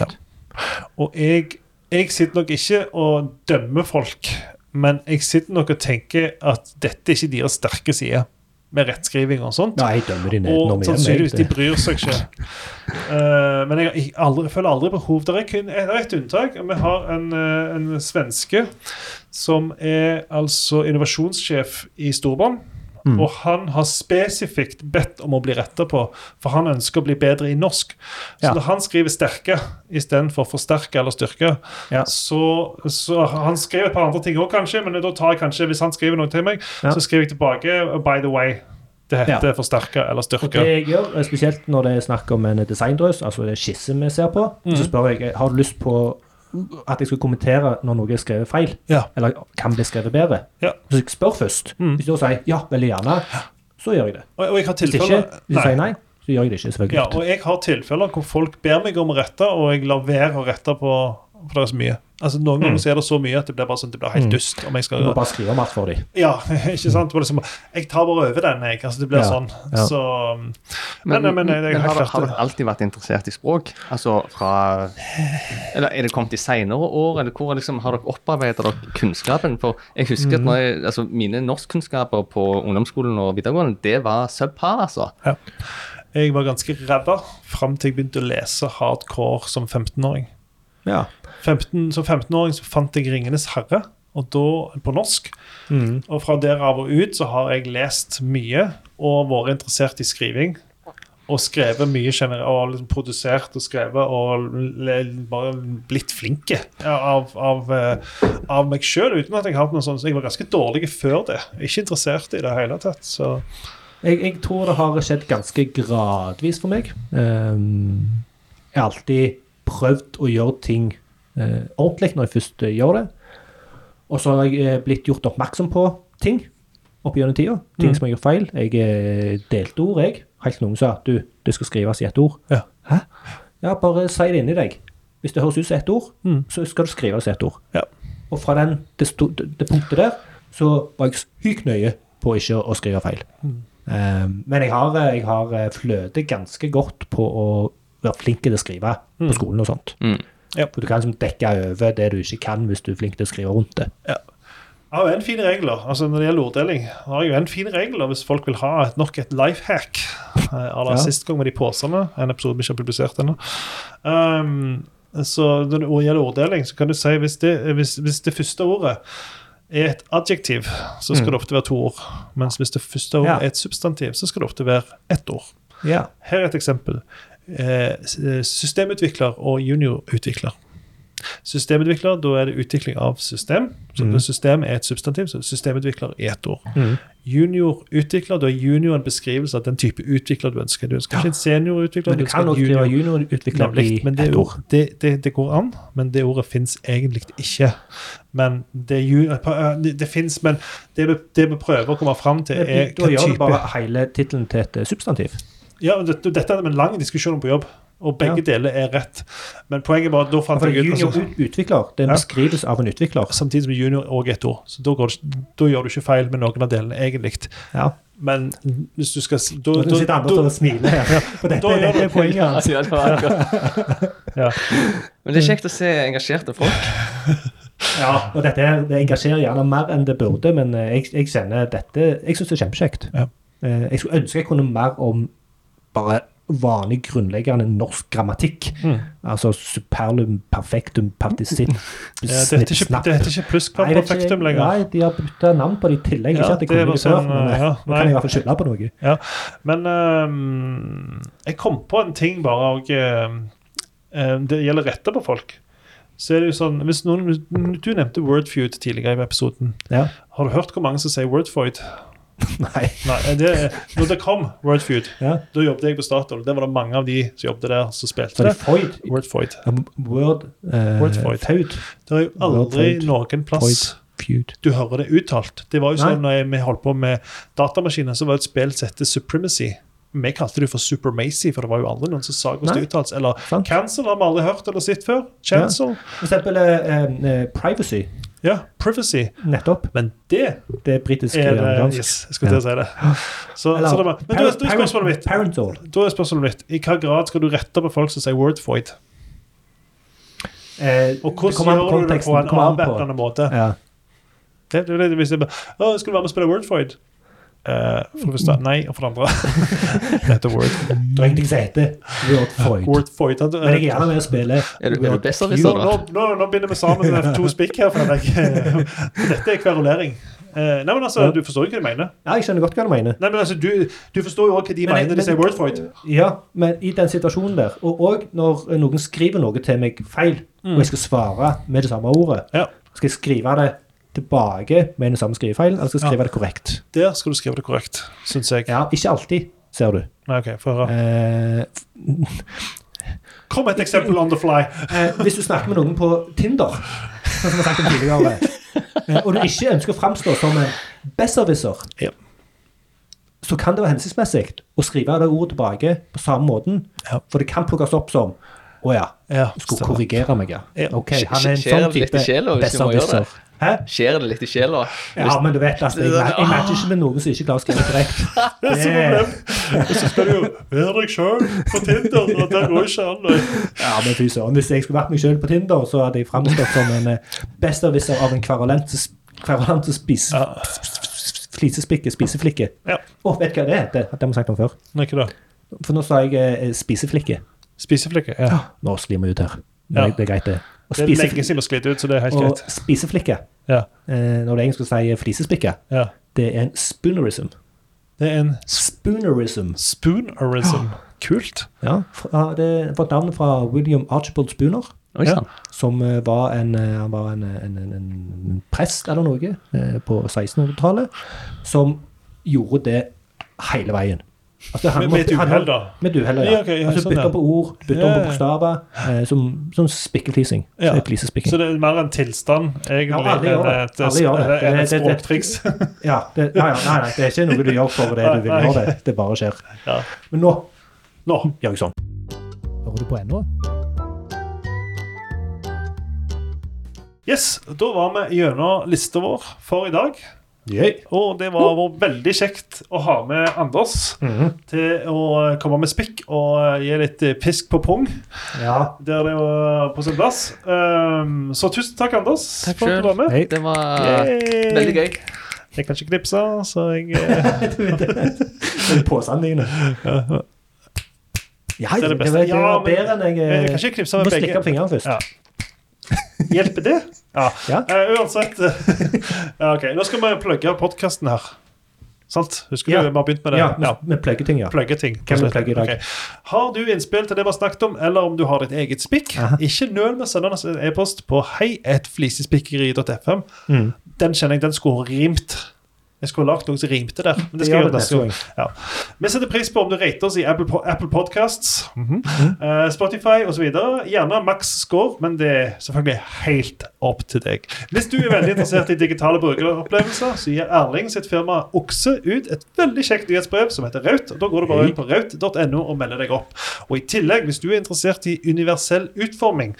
[SPEAKER 1] Og jeg, jeg sitter nok ikke og dømmer folk, men jeg sitter nok og tenker at dette er ikke deres sterke side, med rettskriving og sånt.
[SPEAKER 2] Nei, jeg dømmer de ned når
[SPEAKER 1] Og
[SPEAKER 2] vi
[SPEAKER 1] sannsynligvis Sånn de
[SPEAKER 2] gjør det.
[SPEAKER 1] bryr seg ikke. Eh, men jeg, har ikke- aldri, føler aldri behov. Det er kun det er et unntak. Vi har en, eh, en svenske som er altså innovasjonssjef i Storbrann.
[SPEAKER 2] Mm.
[SPEAKER 1] Og han har spesifikt bedt om å bli retta på, for han ønsker å bli bedre i norsk. Så
[SPEAKER 2] Ja.
[SPEAKER 1] når han skriver 'sterke' istedenfor 'forsterke' eller 'styrke',
[SPEAKER 2] Ja.
[SPEAKER 1] så, så Han skrev et par andre ting òg, kanskje, men da tar jeg kanskje, hvis han skriver noe til meg,
[SPEAKER 2] Ja.
[SPEAKER 1] så skriver jeg tilbake "Oh, 'by the way'. Det heter
[SPEAKER 2] Ja.
[SPEAKER 1] 'forsterke' eller
[SPEAKER 2] Og det
[SPEAKER 1] 'styrke'.
[SPEAKER 2] jeg gjør, eh, spesielt når det er snakk om en designdrøs, altså det er skisse vi ser på,
[SPEAKER 1] Mhm.
[SPEAKER 2] så spør jeg eh, har du lyst på at jeg skal kommentere når noe er skrevet feil,
[SPEAKER 1] Ja.
[SPEAKER 2] eller kan bli skrevet bedre.
[SPEAKER 1] Ja.
[SPEAKER 2] Så jeg spør først. Hvis du da sier ja, veldig gjerne, så gjør jeg det.
[SPEAKER 1] Og, og jeg har
[SPEAKER 2] Mm. Hvis
[SPEAKER 1] tilfeller
[SPEAKER 2] ikke, hvis du sier nei, så gjør jeg det ikke, selvfølgelig.
[SPEAKER 1] Ja, og jeg har tilfeller hvor folk ber meg om å rette, og jeg lar være å rette på, på deres mye. Altså Noen
[SPEAKER 2] Mm.
[SPEAKER 1] ganger så er det så mye at det blir bare sånn, det blir helt dust. om jeg
[SPEAKER 2] du
[SPEAKER 1] skal...
[SPEAKER 2] må Mm. bare skrive om alt for dem.
[SPEAKER 1] Ja, ikke sant? Det var liksom, jeg tar bare over den, jeg. Altså, det blir
[SPEAKER 2] Ja,
[SPEAKER 1] sånn.
[SPEAKER 2] ja.
[SPEAKER 1] Så Men, men, det er
[SPEAKER 3] men har,
[SPEAKER 1] helt
[SPEAKER 3] dere- har
[SPEAKER 1] klart
[SPEAKER 3] dere alltid vært interessert i språk? Altså fra Eller er det kommet i seinere år, eller hvor liksom, har dere opparbeidet dere kunnskapen? For jeg husker
[SPEAKER 1] Mm.
[SPEAKER 3] at når jeg, altså, mine norskkunnskaper på ungdomsskolen og videregående, det var subpar, altså.
[SPEAKER 1] Jeg var ganske ræva fram til jeg begynte å lese hardcore som 15-åring.
[SPEAKER 2] Ja.
[SPEAKER 1] 15, som 15-åring så fant jeg 'Ringenes herre', og da på norsk. Og fra der av og ut så har jeg lest mye og vært interessert i skriving. og skrevet mye generelt, og liksom produsert og skrevet og l- bare blitt flinke av, av, eh, av meg sjøl, uten at jeg har hatt noe sånt. Så jeg var ganske dårlig før det. Ikke interessert i det hele tatt. Så
[SPEAKER 2] Jeg, jeg tror det har skjedd ganske gradvis for meg. Ehm, jeg har alltid prøvd å gjøre ting eh, ordentlig når jeg først eh, gjør det. Og så har jeg eh, blitt gjort oppmerksom på ting opp gjennom tida. Ting
[SPEAKER 1] Mm.
[SPEAKER 2] som jeg gjør feil. Jeg eh, delte ord, jeg. Helt til noen sa at du, det skal skrives i ett ord.
[SPEAKER 1] Ja.
[SPEAKER 2] Hæ? Ja, bare si det inni deg. Hvis det høres ut som ett ord,
[SPEAKER 1] Mm.
[SPEAKER 2] så skal det skrives i ett ord.
[SPEAKER 1] Ja.
[SPEAKER 2] Og fra den, det, sto, det, det punktet der, så var jeg sykt nøye på ikke å, å skrive feil.
[SPEAKER 1] Mm.
[SPEAKER 2] Eh, men jeg har, jeg har eh, fløtet ganske godt på å være flink til å skrive på skolen og sånt.
[SPEAKER 3] Mm.
[SPEAKER 1] Ja.
[SPEAKER 2] For du kan liksom dekke over det du ikke kan hvis du er flink til å skrive rundt det.
[SPEAKER 1] Jeg har jo en fin regel da, altså når det gjelder orddeling. Jeg har jo en fin regel da, hvis folk vil ha et, nok et life hack. À la
[SPEAKER 2] Ja.
[SPEAKER 1] sist gang med de posene. En episode vi ikke har publisert ennå. Um, så når det gjelder orddeling, så kan du si hvis det, hvis, hvis det første ordet er et adjektiv, så skal det ofte være to ord. Mens hvis det første ordet
[SPEAKER 2] Mm. Ja.
[SPEAKER 1] er et substantiv, så skal det ofte være ett ord.
[SPEAKER 2] Ja.
[SPEAKER 1] Her er et eksempel. Eh, s- Systemutvikler og juniorutvikler. Systemutvikler, da er det utvikling av system. Så
[SPEAKER 2] Mm.
[SPEAKER 1] System er et substantiv, så systemutvikler er ett ord. Juniorutvikler, da er junior en beskrivelse av den type utvikler du ønsker. Du ønsker ikke en seniorutvikler,
[SPEAKER 2] Men
[SPEAKER 1] du
[SPEAKER 2] du
[SPEAKER 1] ønsker
[SPEAKER 2] kan
[SPEAKER 1] en
[SPEAKER 2] også skrive
[SPEAKER 1] junior.
[SPEAKER 2] juniorutvikler i
[SPEAKER 1] Nemlig, men det,
[SPEAKER 2] ett ord.
[SPEAKER 1] Det, det, det går an, men det ordet fins egentlig ikke. Men det, er ju- eh, det, det fins, men det vi, det vi prøver å komme fram til,
[SPEAKER 2] Da
[SPEAKER 1] er hva
[SPEAKER 2] gjør du
[SPEAKER 1] type
[SPEAKER 2] bare hele tittelen til et eh, substantiv.
[SPEAKER 1] ja, men dette, dette er en lang diskusjon på jobb, og begge deler er rett. Men poenget er bare at da fant
[SPEAKER 2] For
[SPEAKER 1] jeg ut altså,
[SPEAKER 2] juniorutvikler, det er en
[SPEAKER 1] Ja.
[SPEAKER 2] beskrivelse av en utvikler.
[SPEAKER 1] Samtidig som junior og ett ord. Så da, går det, ikke- da gjør du ikke feil med noen av delene, egentlig.
[SPEAKER 2] Ja.
[SPEAKER 1] Men hvis du skal s- da,
[SPEAKER 2] Og du
[SPEAKER 1] da,
[SPEAKER 2] sitter andre og
[SPEAKER 1] da,
[SPEAKER 2] smiler her. For
[SPEAKER 1] da
[SPEAKER 2] dette,
[SPEAKER 1] gjør
[SPEAKER 2] dette
[SPEAKER 1] du-
[SPEAKER 2] er poenget hans.
[SPEAKER 3] Altså, Ja, det var akkurat.
[SPEAKER 1] Ja.
[SPEAKER 3] Men det er kjekt å se engasjerte folk.
[SPEAKER 2] Ja, og dette her, det engasjerer gjerne mer enn det burde, men eh, jeg, jeg kjenner dette Jeg syns det er kjempekjekt.
[SPEAKER 1] Ja.
[SPEAKER 2] Eh, Jeg skulle ønske jeg kunne mer om bare vanlig grunnleggende norsk grammatikk.
[SPEAKER 1] Mm.
[SPEAKER 2] Altså superlum, perfektum, partisipp,
[SPEAKER 1] ja, det heter ikke, det heter ikke
[SPEAKER 2] Nei,
[SPEAKER 1] plusskvamp
[SPEAKER 2] jeg vet ikke,
[SPEAKER 1] perfektum lenger.
[SPEAKER 2] Nei, de har bytta navn på det i tillegg.
[SPEAKER 1] Ja,
[SPEAKER 2] ikke at jeg
[SPEAKER 1] det
[SPEAKER 2] kunne
[SPEAKER 1] var
[SPEAKER 2] det før,
[SPEAKER 1] sånn,
[SPEAKER 2] men eh,
[SPEAKER 1] ja,
[SPEAKER 2] nå
[SPEAKER 1] nei.
[SPEAKER 2] kan jeg i hvert fall skylde på noe.
[SPEAKER 1] Ja, men ehm, jeg kom på en ting bare og ehm, ehm, Det gjelder rette på folk. Så er det jo sånn, hvis noen, Du nevnte Wordfeud tidligere i episoden.
[SPEAKER 2] Ja.
[SPEAKER 1] Har du hørt hvor mange som sier Wordfeud?
[SPEAKER 2] Nei.
[SPEAKER 1] Nei, det, når det kom Wordfeud,
[SPEAKER 2] Ja.
[SPEAKER 1] da jobbet jeg på Statoil. Det var det mange av de som jobbet der, som
[SPEAKER 2] Så
[SPEAKER 1] spilte
[SPEAKER 2] det
[SPEAKER 1] det.
[SPEAKER 2] er Freud. Um,
[SPEAKER 1] Wordfeud.
[SPEAKER 2] Word, eh,
[SPEAKER 1] Wordfeud.
[SPEAKER 2] Feud.
[SPEAKER 1] Det er jo aldri
[SPEAKER 2] Wordfeud.
[SPEAKER 1] noen plass
[SPEAKER 2] Feud.
[SPEAKER 1] du hører det uttalt. Det var jo sånn når jeg- vi holdt på med datamaskiner, så var det et spill som het Supremacy. Vi kalte det for Supermacy, for det var jo aldri noen som sa hvordan det uttales. Eller
[SPEAKER 2] Sant.
[SPEAKER 1] Cancel har vi aldri hørt eller sett før. Cancel.
[SPEAKER 2] For eksempel eh, eh, privacy.
[SPEAKER 1] Ja. Privacy.
[SPEAKER 2] Nettopp.
[SPEAKER 1] Men det
[SPEAKER 2] Det er britisk
[SPEAKER 1] er det
[SPEAKER 2] amerikansk.
[SPEAKER 1] Yes, jeg skulle til å si det. Så, så det var, men da er da er spørsmålet mitt
[SPEAKER 2] Parental.
[SPEAKER 1] Da er spørsmålet mitt, I hva grad skal du rette på folk som sier Wordfeud?
[SPEAKER 2] Eh,
[SPEAKER 1] Og hvordan gjør du det på en avvæpnende måte?
[SPEAKER 2] Ja.
[SPEAKER 1] Det, det, det, hvis jeg bare, å, 'Skal du være med og spille Wordfeud?' Uh, for det første nei, og for det andre Det heter Word.
[SPEAKER 2] Det er egentlig som heter Word Freud.
[SPEAKER 1] Wordfeud. at, eh,
[SPEAKER 2] Men jeg er gjerne med å spille
[SPEAKER 3] Er du, er du
[SPEAKER 1] nå,
[SPEAKER 3] besserwisser,
[SPEAKER 1] nå,
[SPEAKER 3] da?
[SPEAKER 1] nå, nå binder vi sammen eh, to spikk her. For deg. For Dette er kverulering. Eh, nei, men altså,
[SPEAKER 2] Ja.
[SPEAKER 1] Du forstår jo hva de mener.
[SPEAKER 2] Ja, jeg skjønner godt hva du mener.
[SPEAKER 1] Nei, men altså, Du, du forstår jo også hva de
[SPEAKER 2] Men jeg-
[SPEAKER 1] mener når de sier
[SPEAKER 2] men-
[SPEAKER 1] Wordfeud.
[SPEAKER 2] Ja, men i den situasjonen der, og òg når noen skriver noe til meg feil, og jeg skal svare med det samme ordet,
[SPEAKER 1] Mm. Ja.
[SPEAKER 2] skal jeg skrive det tilbake med den samme skrivefeilen, eller skal jeg
[SPEAKER 1] Ja.
[SPEAKER 2] skrive det korrekt?
[SPEAKER 1] Der skal du skrive det korrekt, syns jeg.
[SPEAKER 2] Ja, ikke alltid, ser du.
[SPEAKER 1] Nei, ok, for, å høre.
[SPEAKER 2] Eh,
[SPEAKER 1] Kom med et eksempel on the fly.
[SPEAKER 2] Eh, hvis du snakker med noen på Tinder, sånn som vi snakket om tidligere, eh, og du ikke ønsker å framstå som en besserwisser,
[SPEAKER 1] Ja.
[SPEAKER 2] så kan det være hensiktsmessig å skrive det ordet tilbake på samme måten.
[SPEAKER 1] Ja.
[SPEAKER 2] For det kan plukkes opp som Å ja,
[SPEAKER 1] Ja,
[SPEAKER 2] du skulle
[SPEAKER 1] stemmer.
[SPEAKER 2] korrigere meg, ja.
[SPEAKER 1] Ja.
[SPEAKER 2] Ok, han er en
[SPEAKER 3] Skjer
[SPEAKER 2] sånn
[SPEAKER 3] det litt i
[SPEAKER 2] type
[SPEAKER 3] sjela hvis du må gjøre det?
[SPEAKER 2] besserwisser. Hæ?
[SPEAKER 3] Skjer det litt i sjela?
[SPEAKER 2] Ja, men du vet, altså, jeg, mer- jeg matcher ikke med noen som ikke klarer å skrive korrekt.
[SPEAKER 1] Det er så problem. Og så skal du jo være deg sjøl på Tinder. Og det går ikke an. nei.
[SPEAKER 2] Ja, men fy søren. Hvis jeg skulle vært meg sjøl på Tinder, så hadde jeg framstått som en eh, besserwisser av en kverulent kverulent som spiser
[SPEAKER 1] Ja.
[SPEAKER 2] flisespikke, spiseflikke.
[SPEAKER 1] Ja.
[SPEAKER 2] Å, vet du hva det heter? Det har vi snakket om før.
[SPEAKER 1] Nei, ikke det.
[SPEAKER 2] For nå sa jeg eh, spiseflikke.
[SPEAKER 1] Spiseflikke. Ja.
[SPEAKER 2] Nå slimer vi ut her.
[SPEAKER 1] Ja.
[SPEAKER 2] Men det er greit, det. Og,
[SPEAKER 1] Det er
[SPEAKER 2] spisefl-
[SPEAKER 1] lenge siden vi sklidd ut, så det er helt
[SPEAKER 2] og
[SPEAKER 1] greit.
[SPEAKER 2] spiseflikke,
[SPEAKER 1] Ja,
[SPEAKER 2] eh, når du egentlig skal si flisespikke,
[SPEAKER 1] ja.
[SPEAKER 2] det er en spoonerism.
[SPEAKER 1] Det er en
[SPEAKER 2] Spoonerism.
[SPEAKER 1] spoonerism. Kult.
[SPEAKER 2] Ja, fra, det har fått navnet fra William Archibald Spooner,
[SPEAKER 3] Oi sann.
[SPEAKER 2] som eh, var en, eh, han var en, eh, en, en, en prest eller noe eh, på 1600-tallet, som gjorde det hele veien. Altså,
[SPEAKER 1] Med, med et
[SPEAKER 2] var- han var-
[SPEAKER 1] uhell, da.
[SPEAKER 2] Med et uhell, ja.
[SPEAKER 1] Ja, ok, ja,
[SPEAKER 2] altså,
[SPEAKER 1] sånn,
[SPEAKER 2] bytte
[SPEAKER 1] ja.
[SPEAKER 2] om på ord, bytte
[SPEAKER 1] Ja,
[SPEAKER 2] om
[SPEAKER 1] ja,
[SPEAKER 2] på
[SPEAKER 1] ja.
[SPEAKER 2] bokstaver, eh, som, som spikkeltising.
[SPEAKER 1] Ja.
[SPEAKER 2] Så det er Flisespikking.
[SPEAKER 1] Så det er mer en tilstand, egentlig,
[SPEAKER 2] Ja, alle gjør
[SPEAKER 1] enn
[SPEAKER 2] det.
[SPEAKER 1] et,
[SPEAKER 2] Alle gjør det.
[SPEAKER 1] enn
[SPEAKER 2] Det-
[SPEAKER 1] et
[SPEAKER 2] det- det-
[SPEAKER 1] språktriks.
[SPEAKER 2] Ja, det, ja, ja, nei, nei, det er ikke noe du gjør for det du vil
[SPEAKER 1] Nei, nei.
[SPEAKER 2] gjøre. Det, det bare skjer.
[SPEAKER 1] Ja.
[SPEAKER 2] Men nå
[SPEAKER 1] Nå.
[SPEAKER 2] gjør jeg sånn. Hører du på ennå?
[SPEAKER 1] Yes, da var vi gjennom lista vår for i dag. Og det var var veldig kjekt å ha med Anders
[SPEAKER 2] Mhm.
[SPEAKER 1] til å komme med spikk og eh, gi litt pisk på pung
[SPEAKER 2] Ja.
[SPEAKER 1] der det var på sin plass. Um, så tusen takk, Anders,
[SPEAKER 3] Takk
[SPEAKER 1] for at du
[SPEAKER 3] selv.
[SPEAKER 1] var med.
[SPEAKER 2] Hei.
[SPEAKER 3] Det var
[SPEAKER 1] Yay.
[SPEAKER 3] veldig gøy.
[SPEAKER 1] Jeg kan ikke knipse, så jeg eh,
[SPEAKER 2] Påsene dine. Ja,
[SPEAKER 1] Det er
[SPEAKER 2] det,
[SPEAKER 1] det beste.
[SPEAKER 2] var, det
[SPEAKER 1] Ja,
[SPEAKER 2] var
[SPEAKER 1] men-
[SPEAKER 2] bedre enn jeg
[SPEAKER 1] jeg kan ikke knipse
[SPEAKER 2] Du
[SPEAKER 1] med
[SPEAKER 2] må slikke
[SPEAKER 1] begge.
[SPEAKER 2] på fingrene først.
[SPEAKER 1] Ja. Hjelper det? Ja.
[SPEAKER 2] Ja.
[SPEAKER 1] Eh, uansett ja, OK. Nå skal vi plugge podkasten her. Sant? Husker
[SPEAKER 2] Ja.
[SPEAKER 1] du vi har begynt med det?
[SPEAKER 2] Ja, med pluggeting, ja.
[SPEAKER 1] Plugge ting.
[SPEAKER 2] Hvem vil plugge i dag?
[SPEAKER 1] Ok. Har du innspill til det vi har snakket om, eller om du har ditt eget spikk,
[SPEAKER 2] Aha.
[SPEAKER 1] ikke nøl med å sende oss en e-post på heietflisespikkeri.fm.
[SPEAKER 2] Mm.
[SPEAKER 1] Den kjenner jeg den skulle rimt. Jeg skulle lagd noe som rimte der. Men
[SPEAKER 2] Det
[SPEAKER 1] det skal jeg
[SPEAKER 2] gjør
[SPEAKER 1] gjøre
[SPEAKER 2] det
[SPEAKER 1] neste
[SPEAKER 2] neste
[SPEAKER 1] gang.
[SPEAKER 2] gang.
[SPEAKER 1] Ja. Vi setter pris på om du rater oss i Apple, po- Apple Podcasts, eh, Spotify osv. Gjerne maks score, men det er selvfølgelig helt opp til deg. Hvis du er veldig interessert i digitale brukeropplevelser, så gir Erling sitt firma Okse ut et veldig kjekt nyhetsbrev som heter Raut. og Da går du bare inn på raut.no og melder deg opp. Og I tillegg, hvis du er interessert i universell utforming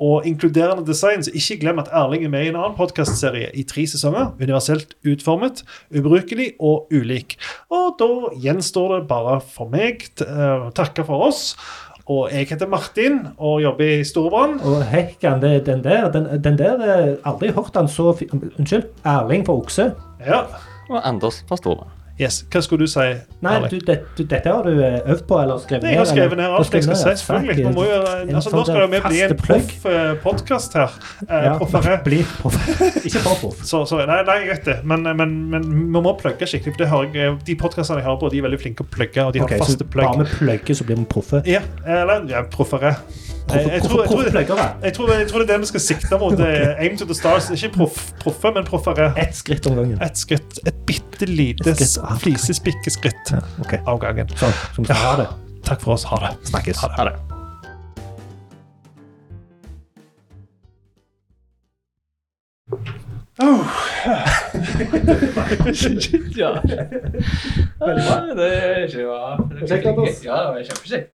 [SPEAKER 1] og inkluderende design, så ikke glem at Erling er med i en annen podkastserie i tre sesonger. Universelt utformet, ubrukelig og ulik. Og da gjenstår det bare for meg eh, å takke for oss. Og jeg heter Martin og jobber i Storbrann.
[SPEAKER 2] Og hekken, det, den der, den, den der eh, Aldri hørt han så fi- Unnskyld. Erling fra Okse.
[SPEAKER 1] Ja.
[SPEAKER 3] Og Anders fra Storbrann.
[SPEAKER 1] Yes. Hva skulle du si,
[SPEAKER 2] Nei,
[SPEAKER 1] Erling?
[SPEAKER 2] du, det, du, dette har du eh, øvd på eller skrevet
[SPEAKER 1] Jeg har skrevet ned
[SPEAKER 2] eller?
[SPEAKER 1] alt
[SPEAKER 2] Du
[SPEAKER 1] jeg
[SPEAKER 2] har
[SPEAKER 1] skal si.
[SPEAKER 2] skrevet ned,
[SPEAKER 1] selvfølgelig.
[SPEAKER 2] ja.
[SPEAKER 1] Vi må jo,
[SPEAKER 2] En
[SPEAKER 1] altså, nå
[SPEAKER 2] sånn
[SPEAKER 1] skal det jo med bli en
[SPEAKER 2] faste plugg.
[SPEAKER 1] proff podkast her. Eh,
[SPEAKER 2] Ja,
[SPEAKER 1] Proffere.
[SPEAKER 2] bli proff. Ikke for proff.
[SPEAKER 1] Så, så, nei, nei, jeg vet det, men, men, men vi må plugge skikkelig. for det hører jeg, De podkastene jeg hører på, de er veldig flinke å plugge. og de har
[SPEAKER 2] Ok, så
[SPEAKER 1] faste plugg.
[SPEAKER 2] Bare vi plugger, så blir vi proffe.
[SPEAKER 1] Ja, eller ja, proffere. Jeg, jeg, tror- jeg, tror- jeg,
[SPEAKER 2] Proffpluggere.
[SPEAKER 1] tror- jeg tror det er det vi skal sikte mot. eh, Aim to the stars. Ikke proff, proffe, men proffere.
[SPEAKER 2] Ett skritt om gangen.
[SPEAKER 1] Et skritt. Et bitte lite
[SPEAKER 2] Et skritt av gangen.
[SPEAKER 1] flisespikkeskritt
[SPEAKER 2] Ok,
[SPEAKER 1] av gangen.
[SPEAKER 2] sånn. Som vi har det.
[SPEAKER 1] Takk for oss. Ha det.
[SPEAKER 2] Snakkes.
[SPEAKER 3] Ha det. ja. Veldig bra. Det er ikke bra.
[SPEAKER 2] Kjekt, Anders.
[SPEAKER 3] Ja, det var kjempekjekt.